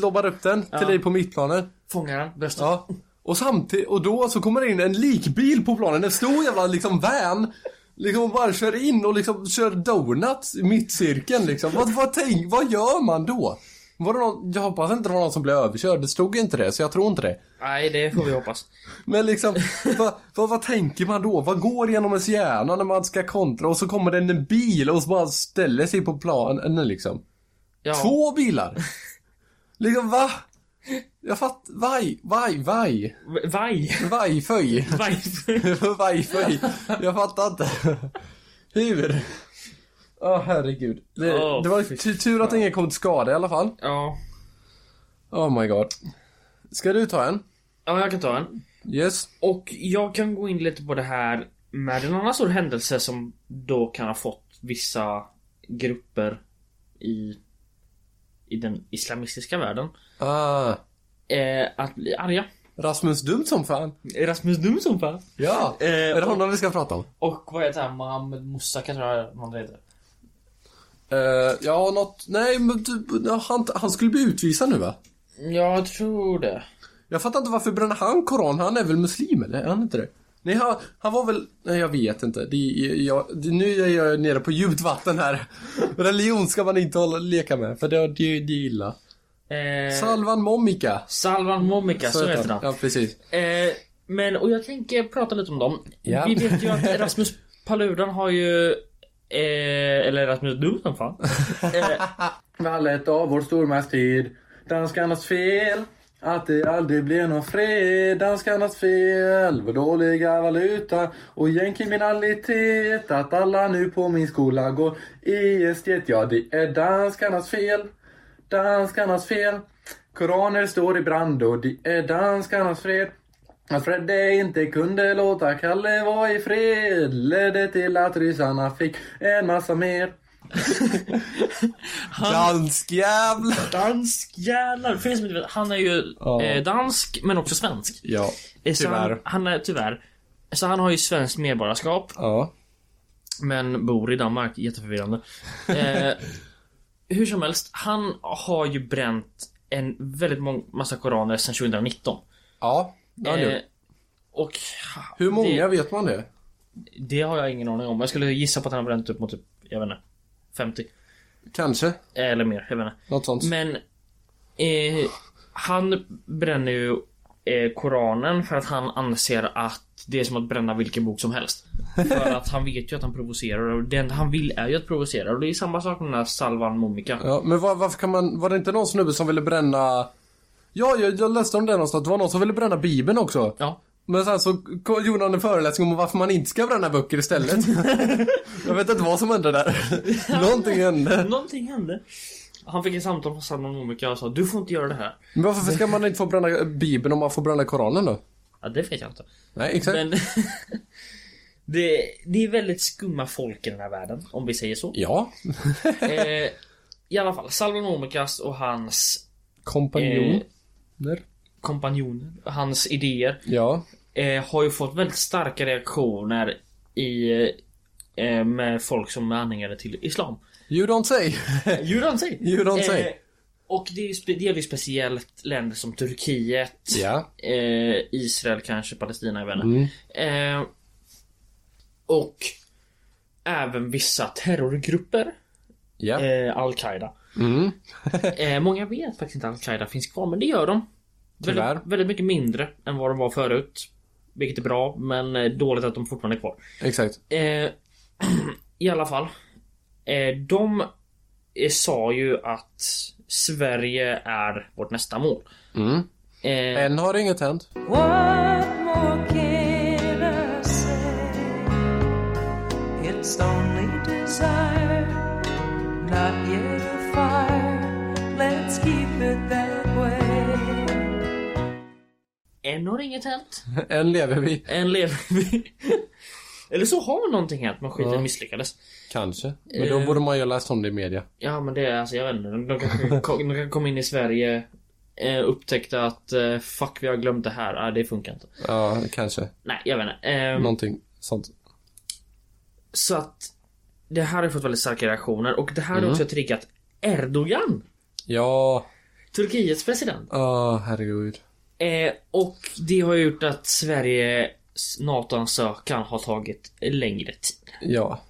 [SPEAKER 1] lobbar upp den till dig på mittplanen.
[SPEAKER 2] Fångar han bröstet.
[SPEAKER 1] Ja. Och samtidigt, och då så kommer det in en likbil på planen, en stor jävla liksom van. Liksom och bara kör in och liksom kör donuts i mittcirkeln liksom. Vad, vad, tänk, vad gör man då? Var det någon, jag hoppas inte det var någon som blev överkörd, det stod inte det så jag tror inte det.
[SPEAKER 2] Nej, det får vi hoppas.
[SPEAKER 1] Men liksom, vad, vad, vad tänker man då? Vad går genom ens hjärna när man ska kontra och så kommer det en bil och så bara ställer sig på planen liksom?
[SPEAKER 2] Ja.
[SPEAKER 1] Två bilar! Liksom va? Jag fattar, vaj, vaj, vaj.
[SPEAKER 2] V- Vaj.
[SPEAKER 1] Vajföj.
[SPEAKER 2] Vaj.
[SPEAKER 1] Vajföj. Jag fattar inte. Hur? Åh herregud. Det,
[SPEAKER 2] Åh,
[SPEAKER 1] det var
[SPEAKER 2] fy
[SPEAKER 1] t- tur att ingen kom till skada i alla fall.
[SPEAKER 2] ja.
[SPEAKER 1] Oh my god. Ska du ta en?
[SPEAKER 2] ja, jag kan ta en.
[SPEAKER 1] Yes.
[SPEAKER 2] Och jag kan gå in lite på det här med en annan stor händelse som då kan ha fått vissa grupper i, i den islamistiska världen
[SPEAKER 1] Ah,
[SPEAKER 2] eh, att bli arga.
[SPEAKER 1] Rasmus dumt som fan.
[SPEAKER 2] Rasmus Dum som fan.
[SPEAKER 1] Ja.
[SPEAKER 2] Eh,
[SPEAKER 1] är det
[SPEAKER 2] och-
[SPEAKER 1] honom vi ska prata om?
[SPEAKER 2] Och vad heter han? Mohammed Moussa kanske jag- någon heter.
[SPEAKER 1] Eh, ja, något... Nej, men du, ja, han, han skulle bli utvisad nu va?
[SPEAKER 2] Jag tror det.
[SPEAKER 1] Jag fattar inte varför bränner han koran? Han är väl muslim eller? Är han inte det? Nej, han, han var väl... Nej, jag vet inte. Det, jag, det, nu är jag nere på djupt vatten här. Religion ska man inte hålla, leka med, för det, det, det är illa.
[SPEAKER 2] Eh,
[SPEAKER 1] Salvan Momika.
[SPEAKER 2] Salvan Momika, så heter han.
[SPEAKER 1] Ja, precis.
[SPEAKER 2] Eh, men, och jag tänker prata lite om dem.
[SPEAKER 1] Ja.
[SPEAKER 2] Vi vet ju att Rasmus Paludan har ju... Eh, eller Rasmus Dum som fan. Eh,
[SPEAKER 7] Fallet av vår stormaktstid. Danskarnas fel. Att det aldrig blir någon fred. Danskarnas fel. Vår dåliga valuta och gängkriminalitet. Att alla nu på min skola går i estet. Ja, det är danskarnas fel. Danskarnas fel. Koraner står i brand och det är danskarnas fel. Att Fredde inte kunde låta Kalle vara i fred ledde till att ryssarna fick en massa mer.
[SPEAKER 1] Dansk jävla.
[SPEAKER 2] dansk jävlar. För er som inte vet, han är ju
[SPEAKER 1] Ja.
[SPEAKER 2] eh, dansk men också svensk.
[SPEAKER 1] Ja,
[SPEAKER 2] Eh, så
[SPEAKER 1] tyvärr.
[SPEAKER 2] Han, han är tyvärr. Så han har ju svenskt medborgarskap
[SPEAKER 1] Ja.
[SPEAKER 2] men bor i Danmark. Jätteförvirrande. Eh, hur som helst, han har ju bränt en väldigt mång- massa koraner sedan 2019.
[SPEAKER 1] Ja. ja
[SPEAKER 2] Eh,
[SPEAKER 1] nu.
[SPEAKER 2] och
[SPEAKER 1] Hur många
[SPEAKER 2] det-
[SPEAKER 1] vet man det?
[SPEAKER 2] Det har jag ingen aning om. Jag skulle gissa på att han har bränt upp mot typ, jag vet inte, 50.
[SPEAKER 1] Kanske.
[SPEAKER 2] Eller mer, jag vet inte.
[SPEAKER 1] Något sånt.
[SPEAKER 2] Men eh, han bränner ju eh, Koranen för att han anser att det är som att bränna vilken bok som helst. För att han vet ju att han provocerar och det enda han vill är ju att provocera. Och det är samma sak med den här Salvan Momika.
[SPEAKER 1] Ja, men var, varför kan man... Var det inte någon snubbe som ville bränna... Ja, jag, jag läste om det någonstans. Det var någon som ville bränna Bibeln också.
[SPEAKER 2] Ja.
[SPEAKER 1] Men sen så kom- gjorde han en föreläsning om varför man inte ska bränna böcker istället. jag vet inte vad som hände där. Någonting hände.
[SPEAKER 2] Någonting hände. Han fick ett samtal från Salvan Momika och sa du får inte göra det här.
[SPEAKER 1] Men varför ska man inte få bränna Bibeln om man får bränna Koranen då?
[SPEAKER 2] Ja, det vet jag inte.
[SPEAKER 1] Nej, exakt.
[SPEAKER 2] Men det, det är väldigt skumma folk i den här världen, om vi säger så.
[SPEAKER 1] Ja.
[SPEAKER 2] Eh, I alla fall, Salvan Omikas och hans
[SPEAKER 1] Kompanjoner.
[SPEAKER 2] eh, kompanjoner, hans idéer,
[SPEAKER 1] Ja.
[SPEAKER 2] eh, har ju fått väldigt starka reaktioner i eh, med folk som är anhängare till Islam.
[SPEAKER 1] You don't say.
[SPEAKER 2] You don't say!
[SPEAKER 1] You don't say.
[SPEAKER 2] Eh, och det, är ju spe- det gäller ju speciellt länder som Turkiet,
[SPEAKER 1] ja.
[SPEAKER 2] eh, Israel kanske, Palestina, jag vet inte.
[SPEAKER 1] Mm.
[SPEAKER 2] Eh, och även vissa terrorgrupper.
[SPEAKER 1] Ja.
[SPEAKER 2] Eh, Al-Qaida.
[SPEAKER 1] Mm.
[SPEAKER 2] Eh, många vet faktiskt inte att Al-Qaida finns kvar, men det gör de.
[SPEAKER 1] Tyvärr.
[SPEAKER 2] Väldigt, väldigt mycket mindre än vad de var förut. Vilket är bra, men eh, dåligt att de fortfarande är kvar.
[SPEAKER 1] Exakt.
[SPEAKER 2] Eh, I alla fall. Eh, de eh, sa ju att Sverige är vårt nästa mål.
[SPEAKER 1] Mm.
[SPEAKER 2] Eh,
[SPEAKER 1] Än har inget hänt.
[SPEAKER 8] What more can I say? It's only desire, not yet a fire. Let's keep it that way.
[SPEAKER 2] än har inget hänt.
[SPEAKER 1] Än lever vi.
[SPEAKER 2] Än lever vi. Eller så har någonting hänt, men skiten
[SPEAKER 1] Ja.
[SPEAKER 2] misslyckades.
[SPEAKER 1] Kanske. Men då
[SPEAKER 2] Eh.
[SPEAKER 1] borde man ju ha läst om det i media.
[SPEAKER 2] Ja men det är alltså, jag vet inte. De, de, kanske kom, de kanske kom in i Sverige eh, Upptäckte att eh, fuck vi har glömt det här. Ah, det funkar inte.
[SPEAKER 1] Ja, kanske.
[SPEAKER 2] Nej jag vet inte. Ehm,
[SPEAKER 1] Någonting sånt.
[SPEAKER 2] Så att det här har fått väldigt starka reaktioner och det här har också triggat Erdogan,
[SPEAKER 1] Ja,
[SPEAKER 2] Turkiets president.
[SPEAKER 1] åh herregud.
[SPEAKER 2] Eh, och det har gjort att Sveriges NATO-ansökan har tagit längre tid.
[SPEAKER 1] Ja,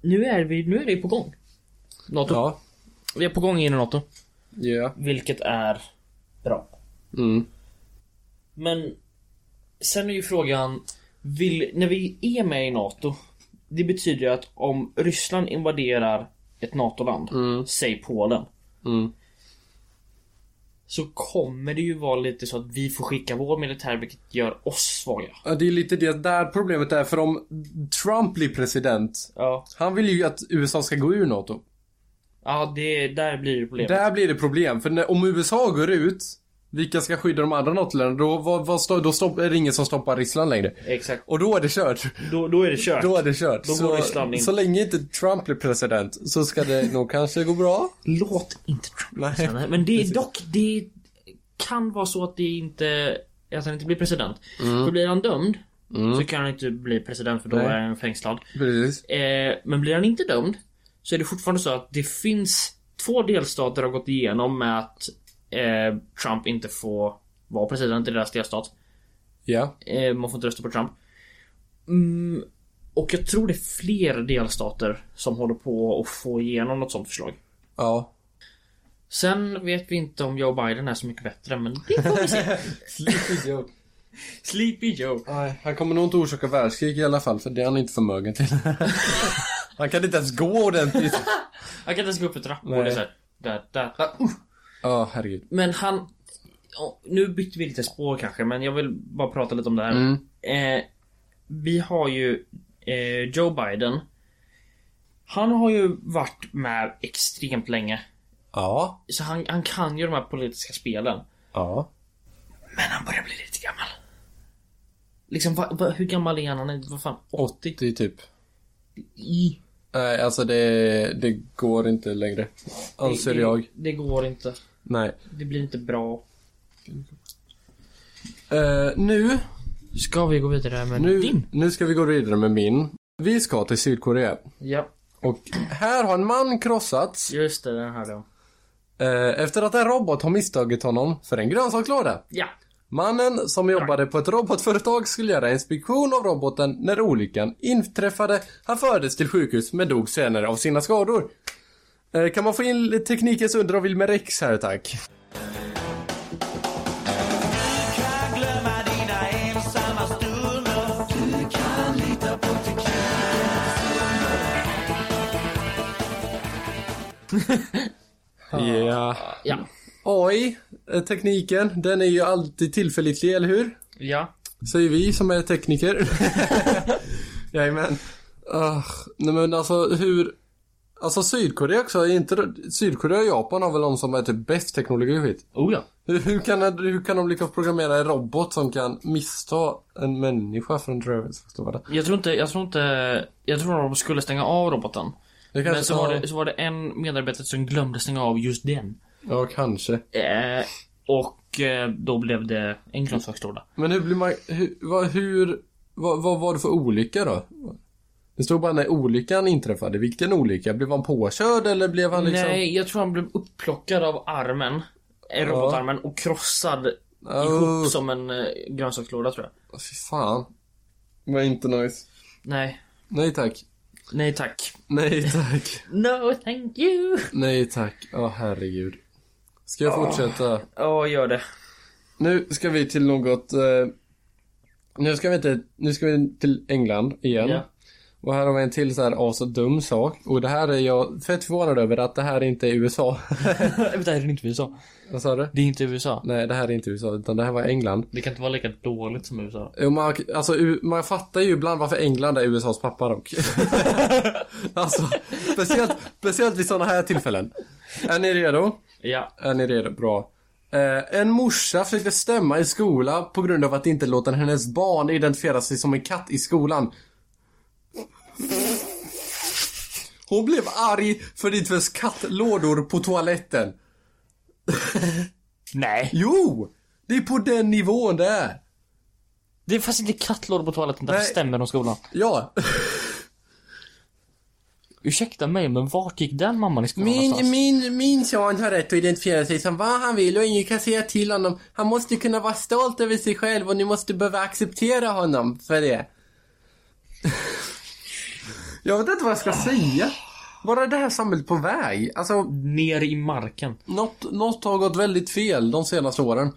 [SPEAKER 2] Nu är, vi, nu är det på gång. NATO.
[SPEAKER 1] ja,
[SPEAKER 2] Vi är på gång in i NATO.
[SPEAKER 1] ja.
[SPEAKER 2] Vilket är bra.
[SPEAKER 1] Mm.
[SPEAKER 2] Men sen är ju frågan, vill, när vi är med i NATO, det betyder ju att om Ryssland invaderar ett NATO-land, säg Polen,
[SPEAKER 1] Mm.
[SPEAKER 2] så kommer det ju vara lite så att vi får skicka vår militär vilket gör oss svaga.
[SPEAKER 1] Ja, det är lite det där problemet är för om Trump blir president.
[SPEAKER 2] Ja,
[SPEAKER 1] Han vill ju att USA ska gå ur NATO.
[SPEAKER 2] ja det, där blir det problemet.
[SPEAKER 1] Där blir det problem. För när, om USA går ut, vilka ska skydda de andra NATO-länderna? Då, vad, vad, stå- då stopp, är det ingen som stoppar Ryssland längre.
[SPEAKER 2] Exakt.
[SPEAKER 1] Och då är det kört.
[SPEAKER 2] Då, då är det kört.
[SPEAKER 1] Då är det kört.
[SPEAKER 2] Då går
[SPEAKER 1] så,
[SPEAKER 2] Ryssland in.
[SPEAKER 1] så länge inte Trump blir president så ska det nog kanske gå bra.
[SPEAKER 2] Låt inte Trump
[SPEAKER 1] Nej.
[SPEAKER 2] Nej, Men det är dock, det kan vara så att det inte att han inte blir president. För blir han dömd så kan han inte bli president för då
[SPEAKER 1] Mm. Nej.
[SPEAKER 2] är han fängslad.
[SPEAKER 1] Precis.
[SPEAKER 2] Eh, men blir han inte dömd så är det fortfarande så att det finns två delstater har gått igenom med att eh, Trump inte får vara president i deras delstat.
[SPEAKER 1] Ja.
[SPEAKER 2] Eh, man får inte rösta på Trump. Mm, och jag tror det är fler delstater som håller på att få igenom något sånt förslag.
[SPEAKER 1] Ja.
[SPEAKER 2] Sen vet vi inte om Joe Biden är så mycket bättre men det får vi se.
[SPEAKER 1] Sleepy Joe.
[SPEAKER 2] Sleepy Joe.
[SPEAKER 1] Nej, han kommer nog inte orsaka världskrig i alla fall för det är han inte förmögen till. han kan inte ens gå ordentligt.
[SPEAKER 2] Jag kan inte ens gå upp för trappor.
[SPEAKER 1] Nej.
[SPEAKER 2] Det är så här, där, där, där. Uh.
[SPEAKER 1] Ja, herregud.
[SPEAKER 2] Men han... ja, Nu bytte vi lite spår kanske men jag vill bara prata lite om det här.
[SPEAKER 1] Mm.
[SPEAKER 2] Eh, vi har ju eh, Joe Biden. Han har ju varit med extremt länge.
[SPEAKER 1] Ja.
[SPEAKER 2] Så han, han kan ju de här politiska spelen.
[SPEAKER 1] Ja.
[SPEAKER 2] Men han börjar bli lite gammal. Liksom va, va, hur gammal är han? Han är vad fan 80?
[SPEAKER 1] 80 typ.
[SPEAKER 2] I.
[SPEAKER 1] Nej, alltså det, det går inte längre. Anser
[SPEAKER 2] det,
[SPEAKER 1] Alltså, jag.
[SPEAKER 2] Det går inte.
[SPEAKER 1] Nej.
[SPEAKER 2] Det blir inte bra.
[SPEAKER 1] Eh, nu,
[SPEAKER 2] Ska vi gå vidare med
[SPEAKER 1] nu,
[SPEAKER 2] din?
[SPEAKER 1] nu ska vi gå vidare med min. Vi ska till Sydkorea.
[SPEAKER 2] Ja,
[SPEAKER 1] Och här har en man krossats
[SPEAKER 2] just det. Den här då.
[SPEAKER 1] eh, efter att en robot har misstagit honom för en grönsakslåda.
[SPEAKER 2] Ja.
[SPEAKER 1] Mannen som jobbade på ett robotföretag skulle göra inspektion av roboten när olyckan inträffade. Han fördes till sjukhus men dog senare av sina skador. Eh, kan man få in teknikens under av Wilmer Rex här tack? Ja.
[SPEAKER 2] Ja.
[SPEAKER 1] AI, eh, tekniken, den är ju alltid tillförlitlig, eller hur?
[SPEAKER 2] Ja.
[SPEAKER 1] Säger vi som är tekniker. Jajamän. Uh, nej men alltså hur... Alltså Sydkorea också, är inte... Sydkorea och Japan har väl de som är typ bäst teknologi och skit.
[SPEAKER 2] Oh ja.
[SPEAKER 1] Hur, hur, kan, hur kan de lyckas programmera en robot som kan missta en människa för en drönare?
[SPEAKER 2] Jag tror inte, jag tror inte, jag tror de skulle stänga av roboten.
[SPEAKER 1] Det kanske,
[SPEAKER 2] Men så var det, så var det en medarbetare som glömde stänga av just den.
[SPEAKER 1] Ja, kanske.
[SPEAKER 2] Eh, och eh, då blev det en grönsakslåda.
[SPEAKER 1] Men hur blir man... Hur, vad, hur, vad, vad var det för olycka då? Det stod bara när olyckan inträffade. Vilken olycka? Blev han påkörd eller blev han liksom...
[SPEAKER 2] Nej, jag tror han blev upplockad av armen. eh, Robotarmen och krossad
[SPEAKER 1] Oh.
[SPEAKER 2] ihop som en eh, grönsakslåda tror jag.
[SPEAKER 1] Åh, Fy fan. Var inte nice.
[SPEAKER 2] Nej.
[SPEAKER 1] Nej tack.
[SPEAKER 2] Nej tack.
[SPEAKER 1] Nej tack.
[SPEAKER 2] No thank you.
[SPEAKER 1] Nej tack. Åh herregud. Ska jag fortsätta?
[SPEAKER 2] Ja, gör det.
[SPEAKER 1] Nu ska vi till något... Eh, nu, ska vi till, nu ska vi till England igen.
[SPEAKER 2] Ja.
[SPEAKER 1] Och här har vi en till så här as dum sak. Och det här är jag fett förvånad över att det här inte är USA.
[SPEAKER 2] det här är inte USA.
[SPEAKER 1] Vad sa du?
[SPEAKER 2] Det är inte USA.
[SPEAKER 1] Nej, det här är inte USA, utan det här var England.
[SPEAKER 2] Det kan inte vara lika dåligt som USA.
[SPEAKER 1] Jo, Man, alltså, u- man fattar ju ibland varför England är USAs pappa dock. alltså, speciellt, speciellt vid sådana här tillfällen. Är ni redo?
[SPEAKER 2] Ja.
[SPEAKER 1] Är ni redo? Bra. Eh, en morsa försökte stämma i skola på grund av att inte låta hennes barn identifiera sig som en katt i skolan. Hon blev arg för det fanns kattlådor på toaletten.
[SPEAKER 2] Nej.
[SPEAKER 1] Jo! Det är på den nivån det är.
[SPEAKER 2] Det fanns inte kattlådor på toaletten. Därför
[SPEAKER 1] Nej.
[SPEAKER 2] stämmer de skolan.
[SPEAKER 1] Ja.
[SPEAKER 2] Ursäkta mig, men vart gick den mamman i skolan någonstans?
[SPEAKER 1] min, min son har rätt att identifiera sig som vad han vill och ingen kan säga till honom. Han måste kunna vara stolt över sig själv och ni måste behöva acceptera honom för det. jag vet inte vad jag ska säga. Var är det här samhället på väg? Alltså,
[SPEAKER 2] Ner i marken.
[SPEAKER 1] något, något har gått väldigt fel de senaste åren.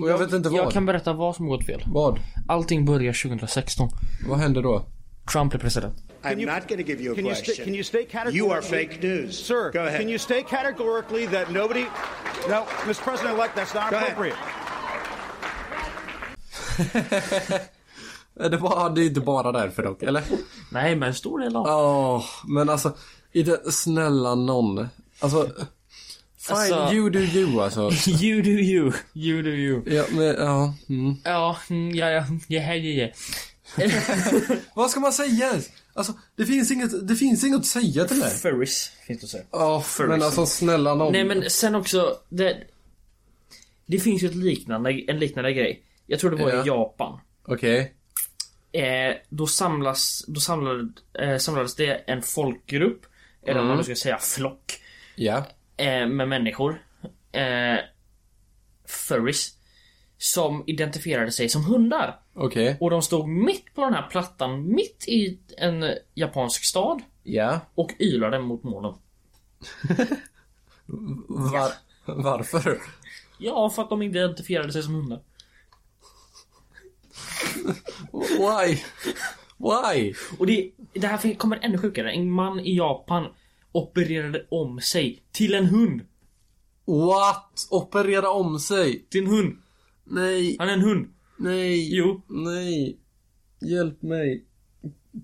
[SPEAKER 1] Och jag vet inte vad.
[SPEAKER 2] Jag kan berätta vad som gått fel.
[SPEAKER 1] Vad?
[SPEAKER 2] Allting börjar 2016.
[SPEAKER 1] Vad hände då?
[SPEAKER 2] Trump blir president.
[SPEAKER 9] I'm not going to give you a
[SPEAKER 10] Can you,
[SPEAKER 9] question.
[SPEAKER 10] sta- can you state categorically?
[SPEAKER 9] You are fake news.
[SPEAKER 10] Sir,
[SPEAKER 9] go ahead.
[SPEAKER 10] can you state categorically that nobody. No, Mr. President elect, that's not
[SPEAKER 9] Go ahead.
[SPEAKER 10] appropriate.
[SPEAKER 1] Eh, Det var det är inte bara därför dock, eller?
[SPEAKER 2] Nej, men en stor del av...
[SPEAKER 1] Ja, men alltså, i det, snälla nån. Alltså, fine,
[SPEAKER 2] Alltså-
[SPEAKER 1] you do you alltså.
[SPEAKER 2] You do you. You do you.
[SPEAKER 1] Ja, men, ja. Mm.
[SPEAKER 2] Ja, mm, ja, ja, ja, ja, ja,
[SPEAKER 1] Vad ska man säga? Alltså, det finns inget, det finns inget att säga till
[SPEAKER 2] ja.
[SPEAKER 1] det.
[SPEAKER 2] Furries, finns det att säga.
[SPEAKER 1] Ja, men alltså snälla nån.
[SPEAKER 2] Nej men sen också, det, det finns ju ett liknande, en liknande grej. Jag tror det var
[SPEAKER 1] Ja.
[SPEAKER 2] i Japan.
[SPEAKER 1] Okej.
[SPEAKER 2] Eh, då samlas, då samlade, eh, samlades det en folkgrupp, eller vad man ska säga, flock,
[SPEAKER 1] Ja.
[SPEAKER 2] eh, med människor. Eh, furries. Som identifierade sig som hundar.
[SPEAKER 1] Okej.
[SPEAKER 2] Och de stod mitt på den här plattan, mitt i en eh, japansk stad.
[SPEAKER 1] Ja.
[SPEAKER 2] Och ylade mot månen.
[SPEAKER 1] Var, varför?
[SPEAKER 2] Ja, för att de inte identifierade sig som hundar.
[SPEAKER 1] Why? Why?
[SPEAKER 2] Och det, det här fin- kommer ännu sjukare. En man i Japan opererade om sig till en hund.
[SPEAKER 1] What? Operera om sig?
[SPEAKER 2] Till en hund.
[SPEAKER 1] Nej,
[SPEAKER 2] Han är en hund.
[SPEAKER 1] nej.
[SPEAKER 2] Jo.
[SPEAKER 1] Nej. Hjälp mig.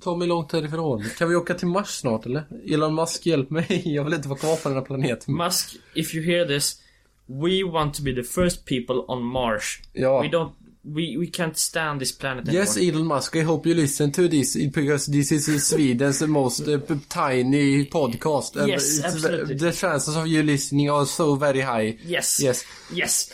[SPEAKER 1] Ta mig långt härifrån. Kan vi åka till Mars snart eller? Elon Musk, hjälp mig. Jag vill inte vara kvar på den här planeten.
[SPEAKER 2] Musk, if you hear this. We want to be the first people on Mars.
[SPEAKER 1] Ja.
[SPEAKER 2] We don't... We, we can't stand this planet
[SPEAKER 1] Yes,
[SPEAKER 2] anymore.
[SPEAKER 1] Elon Musk, I hope you listen to this because this is Sweden's most uh, p- tiny podcast. And
[SPEAKER 2] Yes,
[SPEAKER 1] it's ve-
[SPEAKER 2] absolutely.
[SPEAKER 1] The chances of you listening are so very high.
[SPEAKER 2] Yes.
[SPEAKER 1] Yes.
[SPEAKER 2] Yes.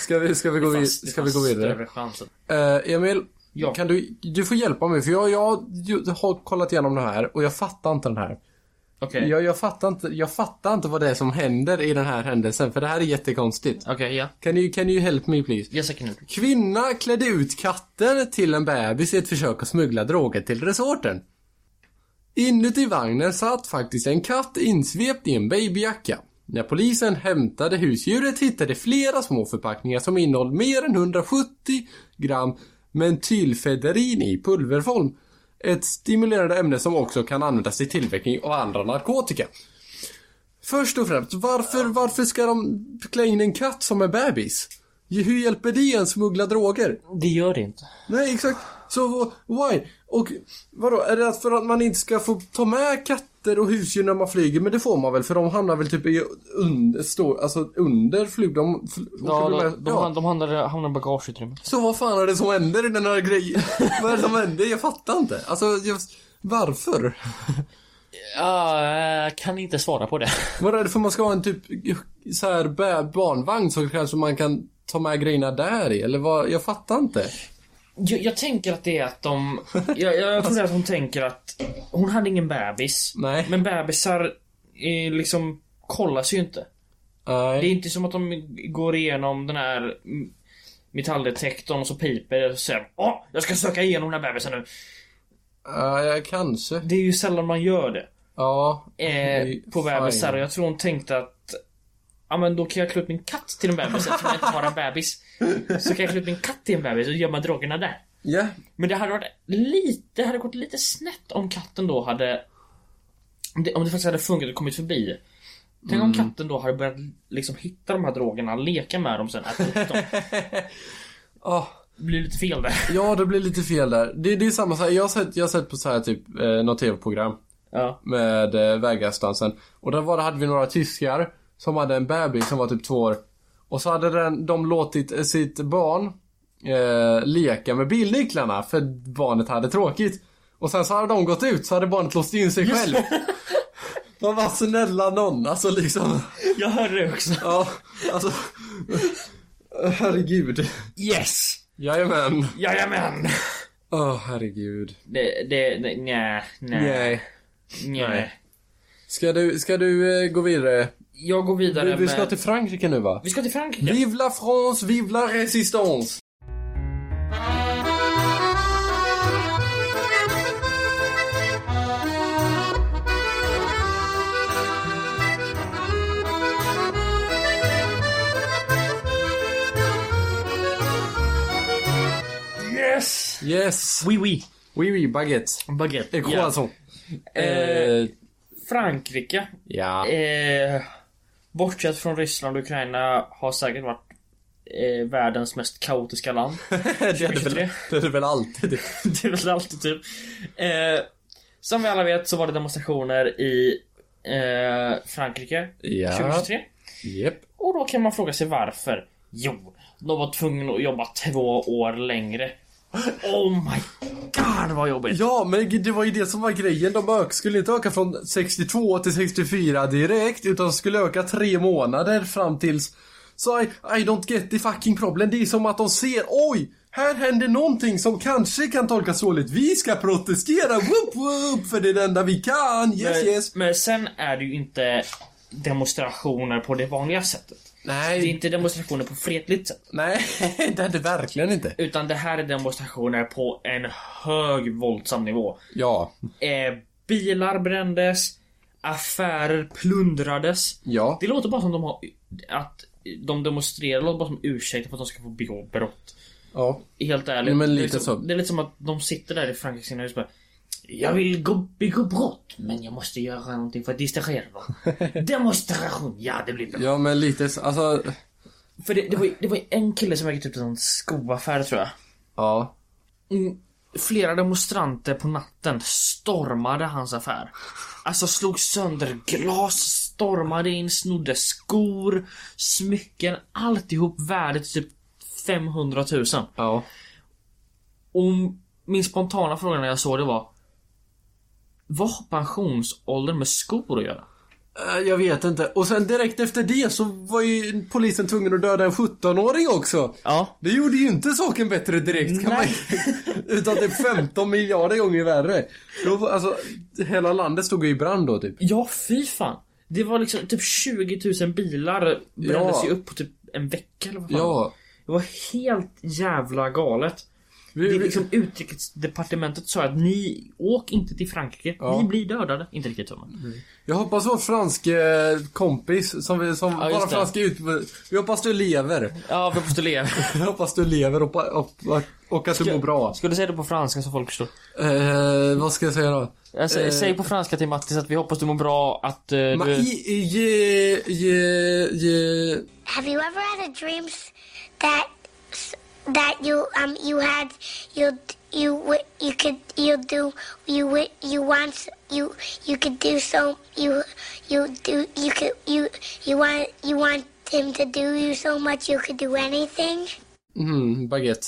[SPEAKER 1] Ska vi, ska vi, gå, vid,
[SPEAKER 2] Fast det
[SPEAKER 1] ska vi gå
[SPEAKER 2] fanns
[SPEAKER 1] vidare?
[SPEAKER 2] Större chansen.
[SPEAKER 1] Eh, Emil,
[SPEAKER 2] Ja.
[SPEAKER 1] kan du, du får hjälpa mig för jag, jag, jag har kollat igenom det här och jag fattar inte den här.
[SPEAKER 2] Okej.
[SPEAKER 1] Jag, jag, fattar inte, jag fattar inte vad det är som händer i den här händelsen för det här är jättekonstigt.
[SPEAKER 2] Okej, ja.
[SPEAKER 1] Can you, can you help me please?
[SPEAKER 2] Yes, I can help.
[SPEAKER 1] Kvinna klädde ut katter till en bebis i ett försök att smuggla droger till resorten. Inuti vagnen satt faktiskt en katt insvept i en babyjacka. När polisen hämtade husdjuret hittade flera små förpackningar som innehöll mer än 170 gram mentylfederin i pulverform. Ett stimulerande ämne som också kan användas i tillverkning av andra narkotika. Först och främst, varför, varför ska de klä in en katt som en bebis? Hur hjälper det en smuggla droger?
[SPEAKER 2] Det gör det inte.
[SPEAKER 1] Nej, exakt. Så wh- why? Och vadå, är det att för att man inte ska få ta med katter och husdjur när man flyger? Men det får man väl för de hamnar väl typ i under, står, alltså under flyg... De, fl-
[SPEAKER 2] Ja,
[SPEAKER 1] åker väl
[SPEAKER 2] de,
[SPEAKER 1] med-
[SPEAKER 2] de,
[SPEAKER 1] ja.
[SPEAKER 2] han- de hamnade, hamnade i bagageutrymmet.
[SPEAKER 1] Så vad fan är det som händer i den här grejen? vad är det som händer? Jag fattar inte. Alltså, jag, varför?
[SPEAKER 2] Ja, jag kan inte svara på det.
[SPEAKER 1] Vad är det för man ska ha en typ så här bä- barnvagn så kanske man kan ta med grejerna där i? Eller vad? Jag fattar inte.
[SPEAKER 2] Jag, jag tänker att det är att de... Jag, jag, jag tror det är att hon tänker att hon hade ingen bebis.
[SPEAKER 1] Nej.
[SPEAKER 2] Men bebisar eh, liksom kollas ju inte. Det är
[SPEAKER 1] Nej.
[SPEAKER 2] inte som att de går igenom den här mm, metalldetektorn och så piper det och så säger de, Åh, jag ska söka igenom den här bebisen nu.
[SPEAKER 1] Uh, kanske.
[SPEAKER 2] Det är ju sällan man gör det.
[SPEAKER 1] Ja.
[SPEAKER 2] Eh,
[SPEAKER 1] det-
[SPEAKER 2] på bebisar
[SPEAKER 1] fine.
[SPEAKER 2] och jag tror hon tänkte att Ja men då kan jag klä ut min katt till en bebis eftersom jag inte har en bebis. Så kan jag klä ut min katt till en bebis och gömma drogerna där.
[SPEAKER 1] Ja.
[SPEAKER 2] Men det hade varit lite, det hade gått lite snett om katten då hade Om det, om det faktiskt hade funkat och kommit förbi Tänk om
[SPEAKER 1] Mm.
[SPEAKER 2] katten då hade börjat liksom hitta de här drogerna, leka med dem sen, äta upp dem
[SPEAKER 1] Ah.
[SPEAKER 2] Det blir lite fel där
[SPEAKER 1] Ja, det blir lite fel där. Det, det är samma så här, jag har sett, jag har sett på så här typ eh, något tv-program
[SPEAKER 2] Ja,
[SPEAKER 1] med eh, väggarstansen. Och där var det, hade vi några tyskar som hade en bebis som var typ två år. Och så hade den, de låtit eh, sitt barn eh, leka med bilnycklarna för barnet hade tråkigt. Och sen så hade de gått ut så hade barnet låst in sig själv. Man var snälla någon, alltså liksom.
[SPEAKER 2] jag hörde det också
[SPEAKER 1] Ja, alltså. Herregud.
[SPEAKER 2] Yes!
[SPEAKER 1] Jajamän.
[SPEAKER 2] Jajamän!
[SPEAKER 1] Åh, herregud.
[SPEAKER 2] Det, det, det nja, nja.
[SPEAKER 1] Nej.
[SPEAKER 2] Nej.
[SPEAKER 1] Ska du, ska du eh, gå vidare?
[SPEAKER 2] Jag går vidare
[SPEAKER 1] Vi, vi ska
[SPEAKER 2] med...
[SPEAKER 1] till Frankrike nu va?
[SPEAKER 2] Vi ska till Frankrike.
[SPEAKER 1] Vive la France, vive la résistance!
[SPEAKER 2] Yes!
[SPEAKER 1] Yes!
[SPEAKER 2] Oui, oui.
[SPEAKER 1] Oui, oui, baguette.
[SPEAKER 2] Baguette.
[SPEAKER 1] Eh, croissant.
[SPEAKER 2] Ja. Eh, Frankrike.
[SPEAKER 1] ja.
[SPEAKER 2] Eh, bortsett från Ryssland och Ukraina har säkert varit eh, världens mest kaotiska land.
[SPEAKER 1] det, är det, väl,
[SPEAKER 2] 2023.
[SPEAKER 1] det är det väl alltid.
[SPEAKER 2] det är väl alltid typ. Eh, som vi alla vet så var det demonstrationer i eh, Frankrike
[SPEAKER 1] Ja.
[SPEAKER 2] 2023.
[SPEAKER 1] Jep.
[SPEAKER 2] Och då kan man fråga sig varför. Jo, de var tvungna att jobba två år längre. Oh my god vad jobbigt.
[SPEAKER 1] Ja, men g- det var ju det som var grejen. De ök, skulle inte öka från 62 till 64 direkt, utan skulle öka tre månader fram tills... Så I, I don't get the fucking problem. Det är som att de ser, oj! Här händer någonting som kanske kan tolkas dåligt. Vi ska protestera, whoop whoop, för det är det enda vi kan. Yes
[SPEAKER 2] men,
[SPEAKER 1] yes.
[SPEAKER 2] men sen är det ju inte demonstrationer på det vanliga sättet. Det är
[SPEAKER 1] Nej,
[SPEAKER 2] inte demonstrationer på fredligt sätt.
[SPEAKER 1] nej, det är det verkligen inte.
[SPEAKER 2] Utan det här är demonstrationer på en hög våldsam nivå.
[SPEAKER 1] Ja,
[SPEAKER 2] Eh, bilar brändes, affärer plundrades.
[SPEAKER 1] ja.
[SPEAKER 2] Det låter bara som de har, att de demonstrerar, det låter bara som ursäkter för att de ska få begå brott.
[SPEAKER 1] ja.
[SPEAKER 2] Helt ärligt.
[SPEAKER 1] Ja, men
[SPEAKER 2] det, är
[SPEAKER 1] lite
[SPEAKER 2] som,
[SPEAKER 1] så.
[SPEAKER 2] det är lite som att de sitter där i Frankrikes sina hus och bara Jag vill gå, begå brott men jag måste göra någonting för att distrahera dem. Demonstration! Ja det blir bra.
[SPEAKER 1] Ja, men lite så, alltså...
[SPEAKER 2] För det, det, var, ju- det var ju en kille som ägde typ en skoaffär tror jag.
[SPEAKER 1] Ja.
[SPEAKER 2] Mm, Flera demonstranter på natten stormade hans affär. Alltså slog sönder glas, stormade in, snodde skor, smycken, alltihop värdet typ 500 000.
[SPEAKER 1] Ja.
[SPEAKER 2] Och min spontana fråga när jag såg det var Vad har pensionsåldern med skor att göra?
[SPEAKER 1] Eh, Jag vet inte. Och sen direkt efter det så var ju polisen tvungen att döda en 17-åring också.
[SPEAKER 2] Ja.
[SPEAKER 1] Det gjorde ju inte saken bättre direkt kan
[SPEAKER 2] Nej.
[SPEAKER 1] man Utan det är 15 miljarder gånger värre. Då, var- alltså, hela landet stod ju i brand då typ.
[SPEAKER 2] Ja, fy fan. Det var liksom typ 20 000 bilar brändes
[SPEAKER 1] Ja.
[SPEAKER 2] ju upp på typ en vecka eller vad fan.
[SPEAKER 1] Ja.
[SPEAKER 2] Det var helt jävla galet.
[SPEAKER 1] Vi,
[SPEAKER 2] Det är
[SPEAKER 1] vi,
[SPEAKER 2] liksom utrikesdepartementet sa att ni åk inte till Frankrike.
[SPEAKER 1] Ja.
[SPEAKER 2] Ni blir dödade. Inte riktigt så men.
[SPEAKER 1] jag hoppas vår franske eh, kompis som, vi, som
[SPEAKER 2] Ja, just
[SPEAKER 1] bara
[SPEAKER 2] det.
[SPEAKER 1] franske ut... Vi hoppas du lever.
[SPEAKER 2] Ja, vi måste leva.
[SPEAKER 1] Jag hoppas du lever och, och, och, och att du mår bra.
[SPEAKER 2] Ska du säga det på franska så folk förstår?
[SPEAKER 1] Eh, vad ska jag säga då?
[SPEAKER 2] Alltså,
[SPEAKER 1] Eh.
[SPEAKER 2] Säg på franska till Mattis att vi hoppas du mår bra, att eh,
[SPEAKER 1] Ma,
[SPEAKER 2] du...
[SPEAKER 1] i, i, ge, ge, ge.
[SPEAKER 11] Have you ever had a dreams that that you um you had you you wi- you could you do you wi- you want s- you you could do so you you do you could you you want you want him to do you so much you could do anything.
[SPEAKER 1] Mm, baguette.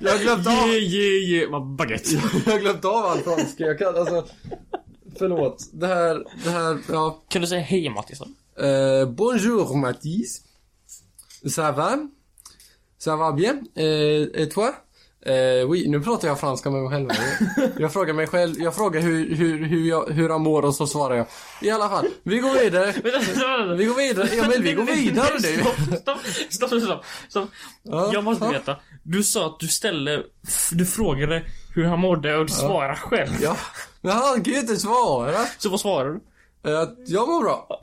[SPEAKER 1] jag har glömt av...
[SPEAKER 2] yeah, yeah, vad baguette.
[SPEAKER 1] Jag har glömt av all franska. Jag kan alltså... Förlåt. Det här, det här, ja.
[SPEAKER 2] Kan du säga hej Mattis då?
[SPEAKER 1] Eh, bonjour Mathis. Ça va? Ça va bien? Eh, et toi? Eh, oui, nu pratar jag franska med mig själv. Jag, jag frågar mig själv, jag frågar hur, hur, hur, jag, hur han mår och så svarar jag. I alla fall, vi går vidare. Vi går vidare. Emil, vi går vidare nu.
[SPEAKER 2] Stopp, stopp, stopp, stopp, stopp.
[SPEAKER 1] Ja,
[SPEAKER 2] Jag måste
[SPEAKER 1] ja.
[SPEAKER 2] veta. Du sa att du ställde, f- du frågade hur han mådde och du svarade själv.
[SPEAKER 1] Ja, men han kan ju inte svara.
[SPEAKER 2] Så vad svarar du?
[SPEAKER 1] Eh, jag mår bra.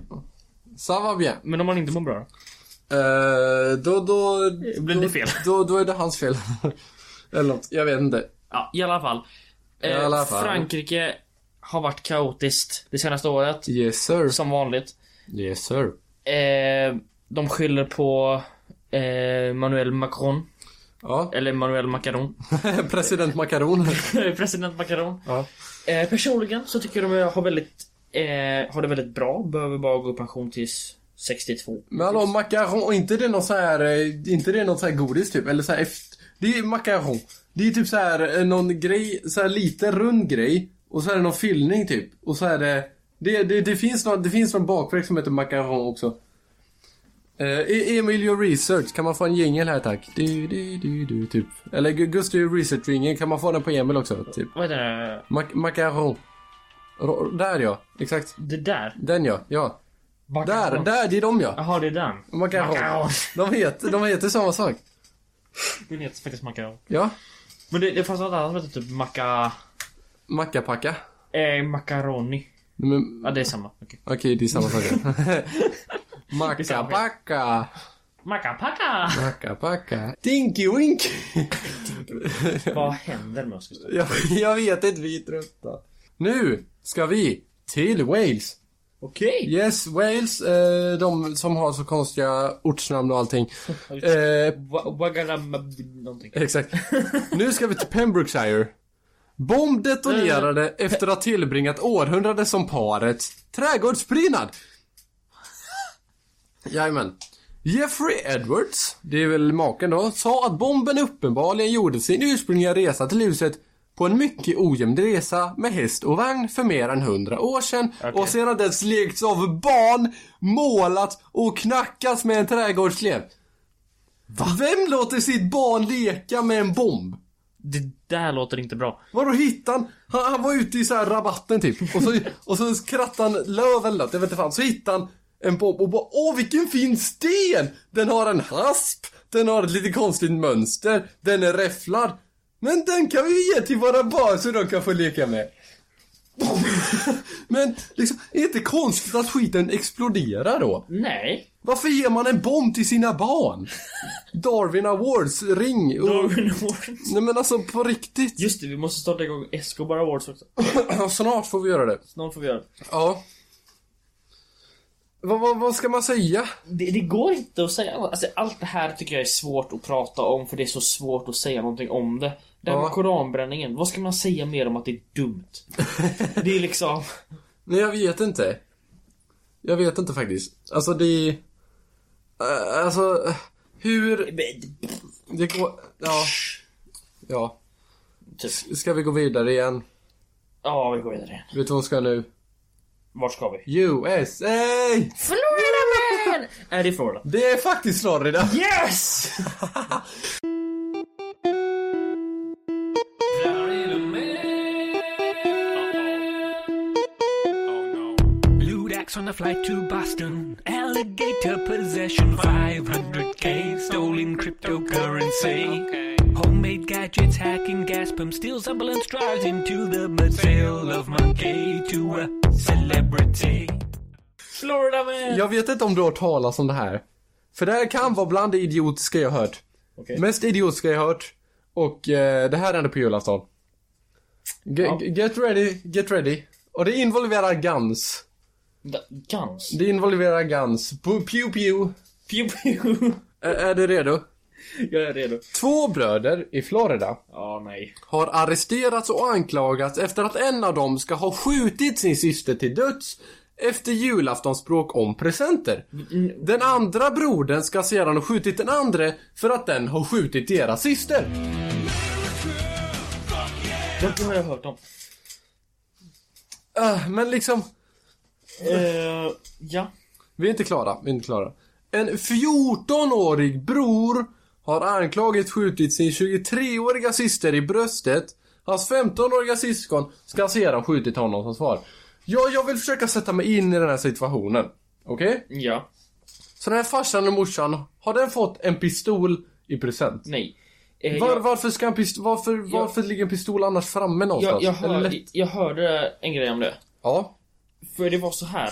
[SPEAKER 1] Ça va bien.
[SPEAKER 2] Men om han inte mår bra då?
[SPEAKER 1] Eh, då, då...
[SPEAKER 2] Blir
[SPEAKER 1] då,
[SPEAKER 2] det fel?
[SPEAKER 1] Då, då är det hans fel. Eller något. Jag vet inte.
[SPEAKER 2] Ja, i alla fall. Eh,
[SPEAKER 1] I alla fall.
[SPEAKER 2] Frankrike har varit kaotiskt det senaste året.
[SPEAKER 1] Yes sir.
[SPEAKER 2] Som vanligt.
[SPEAKER 1] Yes sir.
[SPEAKER 2] Eh, de skyller på eh, Manuel Macron.
[SPEAKER 1] Ja.
[SPEAKER 2] Eller Manuel Macaron.
[SPEAKER 1] President Macaron.
[SPEAKER 2] President Macaron.
[SPEAKER 1] ja.
[SPEAKER 2] Eh, personligen så tycker jag de har väldigt eh, Har det väldigt bra, behöver bara gå i pension tills 62
[SPEAKER 1] Men hallå, macaron. Inte det någon så här... eh, Inte det någon så här godis typ? Eller så här efter... Det är ju macaron. Det är typ så här eh, någon grej, så här liten rund grej. Och så är det någon fyllning typ. Och så är det... Det, det, det finns någon, det finns någon bakverk som heter macaron också. Eh, Emil gör research. Kan man få en jingel här tack? Du, du, du, du, typ. Eller Gu- Gustav gör research ringen. Kan man få den på Emil också? Typ.
[SPEAKER 2] Vad heter det?
[SPEAKER 1] Mac macaron. Ro- Där ja, exakt.
[SPEAKER 2] Det där?
[SPEAKER 1] Den ja, ja. Där, där, det är de ja.
[SPEAKER 2] Jaha, det är den.
[SPEAKER 1] Macaron.
[SPEAKER 2] Macaron.
[SPEAKER 1] De heter, de heter samma sak.
[SPEAKER 2] Den heter faktiskt macaron.
[SPEAKER 1] Ja.
[SPEAKER 2] Men det, det fanns något annat som hette typ maca...
[SPEAKER 1] Mackapacka.
[SPEAKER 2] Eh, macaroni.
[SPEAKER 1] Men-
[SPEAKER 2] Ja, det är samma. Okej.
[SPEAKER 1] Okej, det är samma sak. ja. Mackapacka.
[SPEAKER 2] Macapacka!
[SPEAKER 1] Mackapacka. Dinky Wink.
[SPEAKER 2] Vad händer med oss just nu?
[SPEAKER 1] jag, jag vet inte, vi är trötta. Nu ska vi till Wales.
[SPEAKER 2] Okej.
[SPEAKER 1] Yes, Wales. Eh, de som har så konstiga ortsnamn och allting. Eh,
[SPEAKER 2] Wa- Wagalama- någonting.
[SPEAKER 1] Exakt. Nu ska vi till Pembrokeshire. Bomb detonerade efter att ha tillbringat århundrade som paret. Trädgårdsprydnad! Jajamän. Jeffrey Edwards, det är väl maken då, sa att bomben uppenbarligen gjorde sin ursprungliga resa till huset på en mycket ojämn resa med häst och vagn för mer än 100 år sedan och sedan dess lekts av barn, målat och knackats med en trädgårdsklev. Vem låter sitt barn leka med en bomb?
[SPEAKER 2] Det där låter inte bra.
[SPEAKER 1] Vadå hittade han? han? Han var ute i så här rabatten typ. Och så, och så krattade han löv eller något, jag vet inte fan. Så hittade han en bomb och bara Åh vilken fin sten! Den har en hasp, den har ett lite konstigt mönster, den är räfflad. Men den kan vi ge till våra barn så de kan få leka med. Men liksom, är det inte konstigt att skiten exploderar då?
[SPEAKER 2] Nej.
[SPEAKER 1] Varför ger man en bomb till sina barn? Darwin Awards, ring och...
[SPEAKER 2] Darwin Awards.
[SPEAKER 1] Nej men alltså på riktigt.
[SPEAKER 2] Just det, vi måste starta igång Escobar Awards också.
[SPEAKER 1] Snart får vi göra det.
[SPEAKER 2] Snart får vi göra det.
[SPEAKER 1] Ja. Vad, vad, vad ska man säga?
[SPEAKER 2] det. Det går inte att säga alltså, Allt det här tycker jag är svårt att prata om för det är så svårt att säga någonting om det. Det här med
[SPEAKER 1] Ja.
[SPEAKER 2] koranbränningen, vad ska man säga mer om att det är dumt? det är liksom...
[SPEAKER 1] Nej, jag vet inte. Jag vet inte faktiskt. Alltså det... eh, Alltså, eh, hur... Det går... Ja. Ja.
[SPEAKER 2] Typ.
[SPEAKER 1] Ska vi gå vidare igen?
[SPEAKER 2] Ja, vi går vidare.
[SPEAKER 1] Vet du vad vi ska nu?
[SPEAKER 2] Vart ska vi?
[SPEAKER 1] USA!
[SPEAKER 2] Florida Är det Florida?
[SPEAKER 1] Det är faktiskt Florida.
[SPEAKER 2] Yes!
[SPEAKER 12] Lewd acts on the flight to Boston. Alligator possession. 500k stolen cryptocurrency. Homemade gadgets hacking gas pump. Steals ambulance drives into the mud. Sale of monkey to a celebrity.
[SPEAKER 2] Florida man!
[SPEAKER 1] Jag vet inte om du har hört talas om det här. För det här kan vara bland det idiotiska jag hört. Mest idiotiska jag hört. Och eh, det här hände på julafton. Ge- Get ready, get ready. Och det involverar guns.
[SPEAKER 2] Da- Guns?
[SPEAKER 1] Det involverar guns. Pu- Pew pew.
[SPEAKER 2] Pew pew!
[SPEAKER 1] Ä- är du redo?
[SPEAKER 2] Jag är redo.
[SPEAKER 1] Två bröder i Florida
[SPEAKER 2] Ja, nej.
[SPEAKER 1] har arresterats och anklagats efter att en av dem ska ha skjutit sin syster till döds efter julaftonsbråk om presenter. Den andra brodern ska sedan ha skjutit den andra för att den har skjutit deras syster.
[SPEAKER 2] Det har jag hört om.
[SPEAKER 1] Äh, men liksom,
[SPEAKER 2] Eh, ja.
[SPEAKER 1] vi är inte klara, vi är inte klara. En 14-årig bror har anklagat skjutit sin 23-åriga syster i bröstet. Hans 15-åriga syskon ska sedan skjutit honom som svar. Ja, jag vill försöka sätta mig in i den här situationen. Okej?
[SPEAKER 2] Ja.
[SPEAKER 1] Så den här farsan och morsan, har den fått en pistol i present?
[SPEAKER 2] Nej. Eh,
[SPEAKER 1] Var,
[SPEAKER 2] jag-
[SPEAKER 1] varför ska en pistol, varför, varför ligger en pistol annars framme någonstans?
[SPEAKER 2] Jag, jag,
[SPEAKER 1] Eller
[SPEAKER 2] hör,
[SPEAKER 1] lätt-
[SPEAKER 2] jag hörde en grej om det.
[SPEAKER 1] Ja.
[SPEAKER 2] För det var så här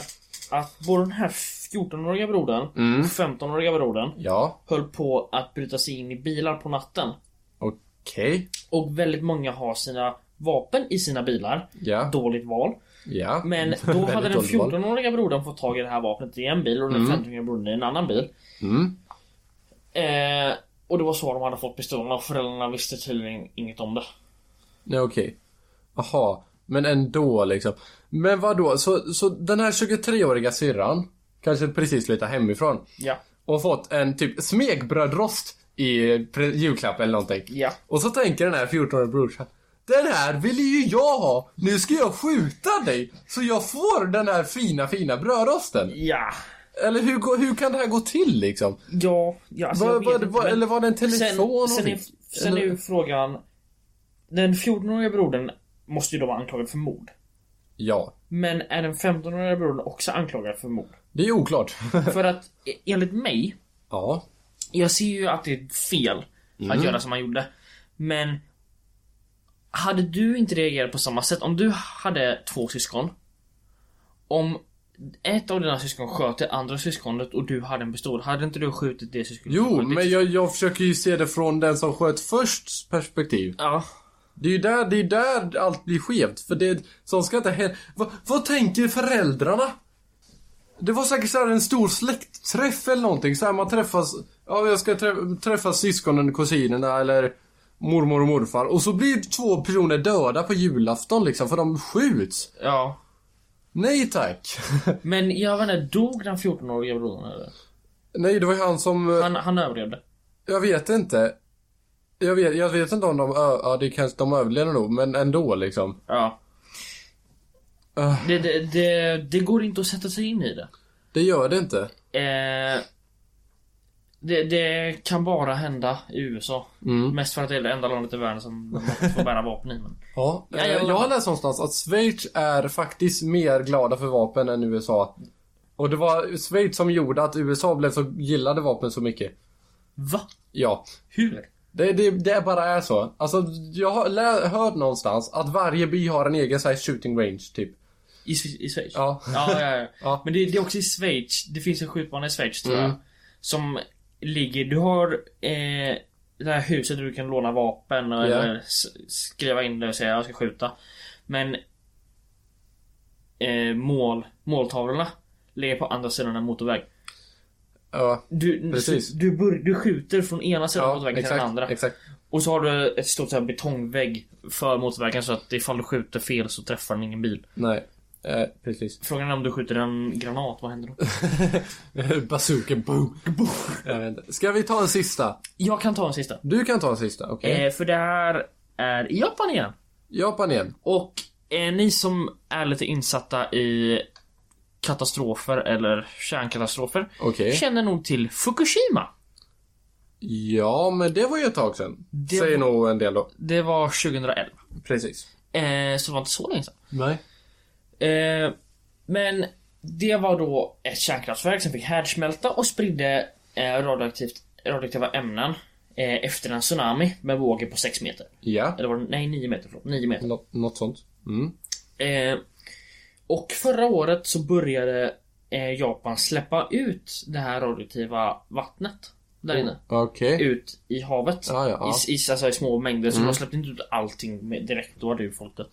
[SPEAKER 2] att både den här 14-åriga brodern
[SPEAKER 1] Mm.
[SPEAKER 2] och 15-åriga brodern
[SPEAKER 1] Ja.
[SPEAKER 2] höll på att bryta sig in i bilar på natten.
[SPEAKER 1] Okej.
[SPEAKER 2] Och väldigt många har sina vapen i sina bilar.
[SPEAKER 1] Ja.
[SPEAKER 2] Dåligt val.
[SPEAKER 1] Ja.
[SPEAKER 2] Men då hade
[SPEAKER 1] Väldigt
[SPEAKER 2] den
[SPEAKER 1] dåligt val.
[SPEAKER 2] 14-åriga brodern fått tag i det här vapnet i en bil och den
[SPEAKER 1] Mm.
[SPEAKER 2] 15-åriga brodern i en annan bil.
[SPEAKER 1] Mm.
[SPEAKER 2] Eh, och det var så de hade fått pistolerna och föräldrarna visste tydligen inget om det.
[SPEAKER 1] Nej, okej. Aha. Men ändå liksom. Men vad då? Så, så den här 23-åriga syrran kanske precis flyttat hemifrån
[SPEAKER 2] Ja.
[SPEAKER 1] och fått en typ smegbrödrost i pre- julklapp eller någonting.
[SPEAKER 2] Ja.
[SPEAKER 1] Och så tänker den här 14-åriga brorsan. Den här ville ju jag ha! Nu ska jag skjuta dig! Så jag får den här fina, fina brödrosten.
[SPEAKER 2] Ja.
[SPEAKER 1] Eller hur, gå- hur kan det här gå till liksom?
[SPEAKER 2] Ja, ja alltså
[SPEAKER 1] Var-
[SPEAKER 2] jag vet
[SPEAKER 1] var-
[SPEAKER 2] inte,
[SPEAKER 1] var-
[SPEAKER 2] men-
[SPEAKER 1] eller var det en telefon
[SPEAKER 2] Sen, sen,
[SPEAKER 1] hon
[SPEAKER 2] är,
[SPEAKER 1] fick?
[SPEAKER 2] sen är
[SPEAKER 1] Eller-
[SPEAKER 2] ju frågan... Den 14-åriga brodern måste ju då vara anklagad för mord.
[SPEAKER 1] Ja.
[SPEAKER 2] Men är den 15-åriga brodern också anklagad för mord?
[SPEAKER 1] Det är oklart.
[SPEAKER 2] för att e- enligt mig,
[SPEAKER 1] Ja.
[SPEAKER 2] jag ser ju att det är fel
[SPEAKER 1] Mm.
[SPEAKER 2] att göra som han gjorde. Men hade du inte reagerat på samma sätt? Om du hade två syskon. Om ett av dina syskon sköt det andra syskonet och du hade en pistol. Hade inte du skjutit det syskonet?
[SPEAKER 1] Jo, men jag, jag försöker ju se det från den som sköt först perspektiv.
[SPEAKER 2] Ja.
[SPEAKER 1] Det är ju där, det är där allt blir skevt. För det, sånt ska inte hända. Va, vad tänker föräldrarna? Det var säkert så här en stor släktträff eller någonting. Så här man träffas, ja jag ska trä- träffa syskonen, kusinerna eller mormor och morfar. Och så blir två personer döda på julafton liksom för de skjuts.
[SPEAKER 2] Ja.
[SPEAKER 1] Nej tack.
[SPEAKER 2] Men jag vet inte, dog den 14-åriga brodern eller?
[SPEAKER 1] Nej, det var ju han som...
[SPEAKER 2] Han, han överlevde.
[SPEAKER 1] Jag vet inte. Jag vet, jag vet inte om de... ö- Ja, det kanske de överlever nog, men ändå liksom.
[SPEAKER 2] Ja. Det, det, det, det går inte att sätta sig in i det.
[SPEAKER 1] Det gör det inte.
[SPEAKER 2] Eh, det, det kan bara hända i USA.
[SPEAKER 1] Mm.
[SPEAKER 2] Mest för att det är det enda landet i världen som de inte får bära vapen i. Men...
[SPEAKER 1] Ja,
[SPEAKER 2] Ja,
[SPEAKER 1] eh,
[SPEAKER 2] jag-
[SPEAKER 1] jag har läst någonstans att Schweiz är faktiskt mer glada för vapen än USA. Och det var Schweiz som gjorde att USA blev så, gillade vapen så mycket.
[SPEAKER 2] Va?
[SPEAKER 1] Ja.
[SPEAKER 2] Hur?
[SPEAKER 1] Det, det, det bara är så. Alltså, jag har lä- hört någonstans att varje by har en egen så här, shooting range, typ.
[SPEAKER 2] I, Swi- i Schweiz?
[SPEAKER 1] Ja.
[SPEAKER 2] Ja, ja, ja. Men det, det är också i Schweiz. Det finns en skjutbana i Schweiz tror jag.
[SPEAKER 1] Mm.
[SPEAKER 2] Som ligger... Du har eh, det här huset där du kan låna vapen och,
[SPEAKER 1] Ja.
[SPEAKER 2] eller s- skriva in det och säga jag ska skjuta. Men eh, mål, måltavlorna ligger på andra sidan en motorväg.
[SPEAKER 1] Ja,
[SPEAKER 2] du,
[SPEAKER 1] precis.
[SPEAKER 2] Du, bör, du skjuter från ena sidan
[SPEAKER 1] Ja,
[SPEAKER 2] av motorvägen till
[SPEAKER 1] exakt,
[SPEAKER 2] den andra.
[SPEAKER 1] exakt.
[SPEAKER 2] Och så har du ett stort så här betongvägg för motorvägen så att ifall du skjuter fel så träffar den ingen bil.
[SPEAKER 1] Nej. Eh, precis.
[SPEAKER 2] Frågan är om du skjuter en granat, vad händer då?
[SPEAKER 1] Bazooka, boom, boom. Jag vet inte. Ska vi ta en sista?
[SPEAKER 2] Jag kan ta en sista.
[SPEAKER 1] Du kan ta en sista, okej?
[SPEAKER 2] Eh, för det här är i Japan igen.
[SPEAKER 1] Japan igen.
[SPEAKER 2] Och eh, ni som är lite insatta i katastrofer eller kärnkatastrofer
[SPEAKER 1] Okej.
[SPEAKER 2] känner nog till Fukushima.
[SPEAKER 1] Ja, men det var ju ett tag sedan.
[SPEAKER 2] Det
[SPEAKER 1] Säger
[SPEAKER 2] var-
[SPEAKER 1] nog en del då.
[SPEAKER 2] Det var 2011.
[SPEAKER 1] Precis.
[SPEAKER 2] Eh, så det var inte så länge sedan.
[SPEAKER 1] Nej.
[SPEAKER 2] Eh, men det var då ett kärnkraftverk som fick härdsmälta och spridde eh, radioaktivt, radioaktiva ämnen eh, efter en tsunami med vågor på 6 meter.
[SPEAKER 1] Ja.
[SPEAKER 2] Eller var det, nej 9 meter, förlåt. 9 meter.
[SPEAKER 1] Nå- något sånt. Mm.
[SPEAKER 2] Eh, och förra året så började eh, Japan släppa ut det här radioaktiva vattnet där inne.
[SPEAKER 1] Okej.
[SPEAKER 2] Ut i havet.
[SPEAKER 1] Ja, ja, ja.
[SPEAKER 2] I, i, alltså, i små mängder. Så
[SPEAKER 1] Mm.
[SPEAKER 2] de släppte inte ut allting med, direkt. Då hade ju folk dött.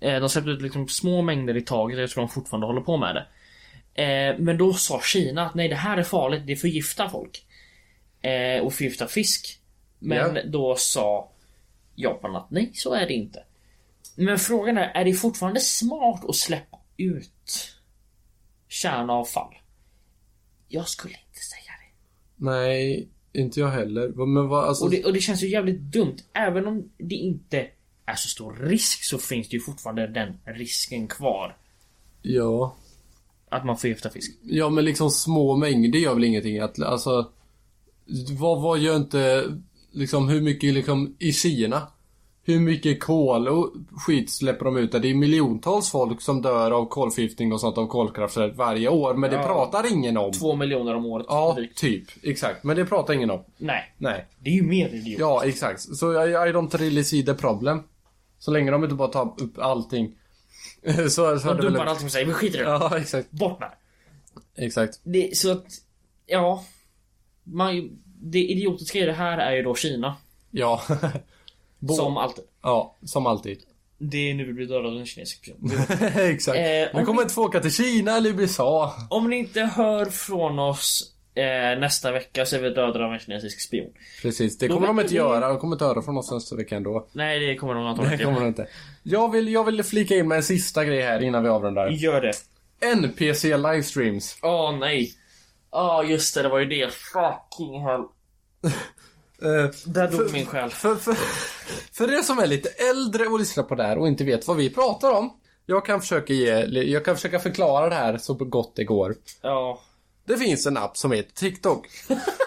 [SPEAKER 2] Eh, de släppte ut liksom små mängder i taget. Jag tror de fortfarande håller på med det. Eh, men då sa Kina att nej det här är farligt. Det förgiftar folk. Eh, och förgiftar fisk. Men
[SPEAKER 1] Ja.
[SPEAKER 2] då sa Japan att nej så är det inte. Men frågan är, är det fortfarande smart att släppa ut kärnavfall? Jag skulle inte säga det.
[SPEAKER 1] Nej, inte jag heller. Va- Men vad, alltså...
[SPEAKER 2] Och det, och det känns ju jävligt dumt. Även om det inte är så stor risk så finns det ju fortfarande den risken kvar.
[SPEAKER 1] Ja.
[SPEAKER 2] Att man förgiftar fisk.
[SPEAKER 1] Ja, men liksom små mängder gör väl ingenting. Att, alltså... Vad, vad gör inte... Liksom hur mycket liksom i Kina? Hur mycket kol och skit släpper de ut där? Det är miljontals folk som dör av kolförgiftning och sånt av kolkraftverk varje år. Men det
[SPEAKER 2] Ja.
[SPEAKER 1] pratar ingen om.
[SPEAKER 2] Två miljoner om året.
[SPEAKER 1] Ja,
[SPEAKER 2] drygt.
[SPEAKER 1] typ. Exakt. Men det pratar ingen om.
[SPEAKER 2] Nej.
[SPEAKER 1] Nej.
[SPEAKER 2] Det är ju mer idiot.
[SPEAKER 1] Ja, exakt. Så I, I don't really see the problem. Så länge de inte bara tar upp allting. så, så är
[SPEAKER 2] De
[SPEAKER 1] det väl-
[SPEAKER 2] dumpar allting och säger vi skiter i det.
[SPEAKER 1] Ja, exakt.
[SPEAKER 2] Bort med det.
[SPEAKER 1] Exakt.
[SPEAKER 2] det. Så att, ja. Man, det idiotiska i det här är ju då Kina.
[SPEAKER 1] Ja. Bo-
[SPEAKER 2] Som alltid.
[SPEAKER 1] Ja, som alltid.
[SPEAKER 2] Det är nu vi blir dödade av en kinesisk person.
[SPEAKER 1] exakt.
[SPEAKER 2] Eh,
[SPEAKER 1] Man
[SPEAKER 2] om-
[SPEAKER 1] kommer inte få åka till Kina eller USA.
[SPEAKER 2] Om ni inte hör från oss eh, nästa vecka så är vi dödade av en kinesisk spion.
[SPEAKER 1] Precis, det
[SPEAKER 2] Då
[SPEAKER 1] kommer de
[SPEAKER 2] vet
[SPEAKER 1] inte
[SPEAKER 2] vi-
[SPEAKER 1] göra. De kommer inte höra från oss nästa vecka ändå.
[SPEAKER 2] Nej, det kommer de antagligen
[SPEAKER 1] Det
[SPEAKER 2] inte
[SPEAKER 1] kommer de
[SPEAKER 2] göra.
[SPEAKER 1] inte. Jag vill, jag vill flika in med en sista grej här innan vi avrundar.
[SPEAKER 2] Gör det.
[SPEAKER 1] NPC livestreams.
[SPEAKER 2] Åh nej. Ja just det, det var ju det. Fucking hell.
[SPEAKER 1] Eh,
[SPEAKER 2] Där dog
[SPEAKER 1] För-
[SPEAKER 2] min själ.
[SPEAKER 1] För, för, för er som är lite äldre och lyssnar på det här och inte vet vad vi pratar om. Jag kan försöka, ge, jag kan försöka förklara det här så gott det går.
[SPEAKER 2] Ja.
[SPEAKER 1] Det finns en app som heter TikTok.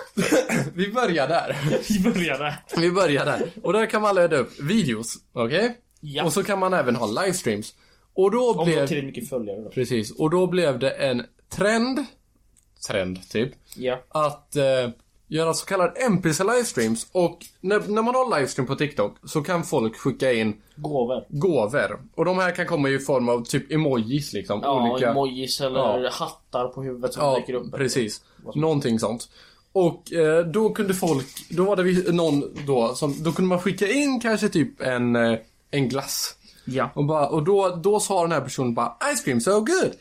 [SPEAKER 1] vi börjar där.
[SPEAKER 2] Vi började.
[SPEAKER 1] Vi börjar där. Och där kan man ladda upp videos. Okej?
[SPEAKER 2] Ja.
[SPEAKER 1] Och så kan man även ha livestreams. Och då
[SPEAKER 2] Om du har
[SPEAKER 1] blev...
[SPEAKER 2] tillräckligt mycket följare då.
[SPEAKER 1] Precis. Och då blev det en trend. Trend, typ.
[SPEAKER 2] Ja.
[SPEAKER 1] Att eh, göra så kallade NPC livestreams. Och när, när man har livestream på TikTok så kan folk skicka in
[SPEAKER 2] Gåvor.
[SPEAKER 1] gåvor. Och de här kan komma i form av typ emojis liksom.
[SPEAKER 2] Ja,
[SPEAKER 1] olika...
[SPEAKER 2] emojis eller
[SPEAKER 1] Ja.
[SPEAKER 2] hattar på huvudet som dyker upp.
[SPEAKER 1] precis. Någonting sånt. Och eh, då kunde folk, då var det vi- någon då som, då kunde man skicka in kanske typ en, eh, en glass.
[SPEAKER 2] Ja.
[SPEAKER 1] Och, bara, och då, då sa den här personen bara Ice cream so good!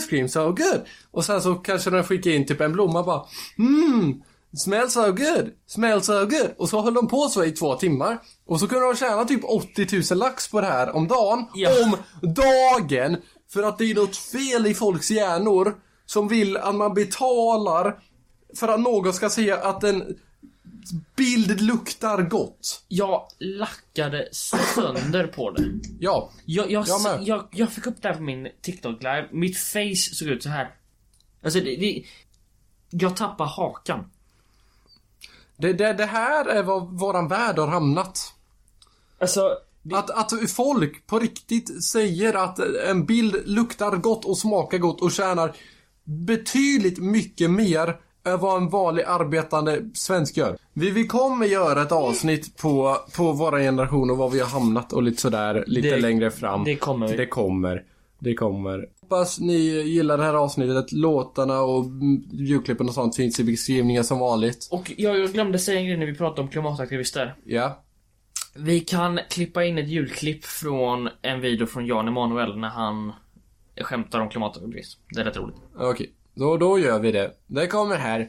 [SPEAKER 1] Ice cream so good! Och sen så kanske den skickade in typ en blomma bara Mm! Smells so good! Smells so good! Och så höll de på så i två timmar. Och så kunde de tjäna typ 80 000 lax på det här om dagen. Om dagen! För att det är något fel i folks hjärnor som vill att man betalar för att någon ska säga att en bild luktar gott.
[SPEAKER 2] Jag lackade sönder på det.
[SPEAKER 1] Ja.
[SPEAKER 2] Jag, jag,
[SPEAKER 1] Jag med.
[SPEAKER 2] jag, jag, fick upp det här på min TikTok live. Mitt face såg ut så här. Alltså det, det, Jag tappar hakan.
[SPEAKER 1] Det, det, det här är var våran värld har hamnat.
[SPEAKER 2] Alltså...
[SPEAKER 1] Att, att folk på riktigt säger att en bild luktar gott och smakar gott och tjänar betydligt mycket mer än vad en vanlig arbetande svensk gör. Vi, vi kommer göra ett avsnitt på, på våra generation och var vi har hamnat och lite sådär lite
[SPEAKER 2] Det-
[SPEAKER 1] längre fram.
[SPEAKER 2] det kommer vi.
[SPEAKER 1] Det kommer. Det kommer. Hoppas ni gillar det här avsnittet. Låtarna och mm, ljudklippen och sånt finns i beskrivningen som vanligt.
[SPEAKER 2] Och jag, jag glömde säga en grej när vi pratade om klimataktivister.
[SPEAKER 1] Ja.
[SPEAKER 2] Vi kan klippa in ett julklipp från en video från Jan Emanuel när han skämtar om klimataktivism. Det är rätt roligt.
[SPEAKER 1] Okej, då, då gör vi det. Det kommer här.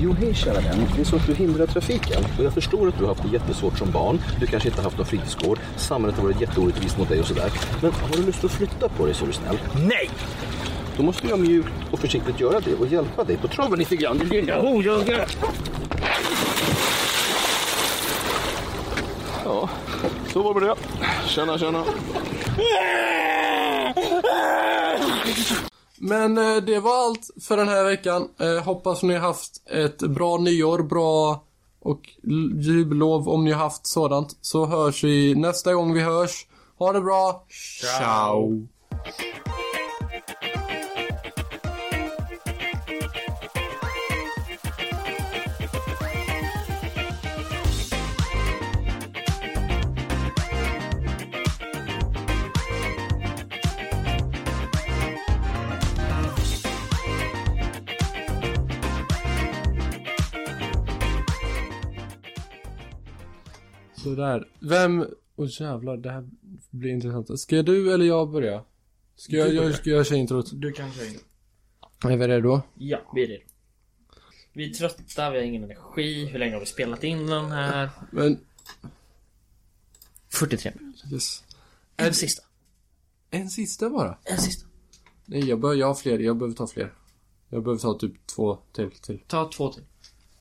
[SPEAKER 13] Jo, hej kära vän. Det är så att du hindrar trafiken. Och jag förstår att du har haft det jättesvårt som barn. Du kanske inte har haft någon fritidsgård. Samhället har varit jätteorättvist mot dig och sådär. Men har du lust att flytta på dig så är du snäll? Nej! Då måste jag mjukt och försiktigt göra det och hjälpa dig på traven lite grann. Du lilla horunge! Ja, så var det. Tjena, tjena.
[SPEAKER 1] Men eh, det var allt för den här veckan. Eh, hoppas ni har haft ett bra nyår, bra och l- jullov om ni har haft sådant. Så hörs vi nästa gång vi hörs. Ha det bra. Ciao. Sådär. Vem... Åh jävlar, det här blir intressant. Ska du eller jag börja? Ska jag,
[SPEAKER 2] Du
[SPEAKER 1] jag,
[SPEAKER 2] börjar.
[SPEAKER 1] ska jag köra introt?
[SPEAKER 2] Du kan köra in.
[SPEAKER 1] Är vi redo?
[SPEAKER 2] Ja, vi är redo. Vi är trötta, vi har ingen energi. Hur länge har vi spelat in den här?
[SPEAKER 1] Men...
[SPEAKER 2] 43
[SPEAKER 1] Yes.
[SPEAKER 2] En sista.
[SPEAKER 1] En sista bara?
[SPEAKER 2] En sista.
[SPEAKER 1] Nej, jag, bör, jag har fler. Jag behöver ta fler. Jag behöver ta typ två till. till.
[SPEAKER 2] Ta två till.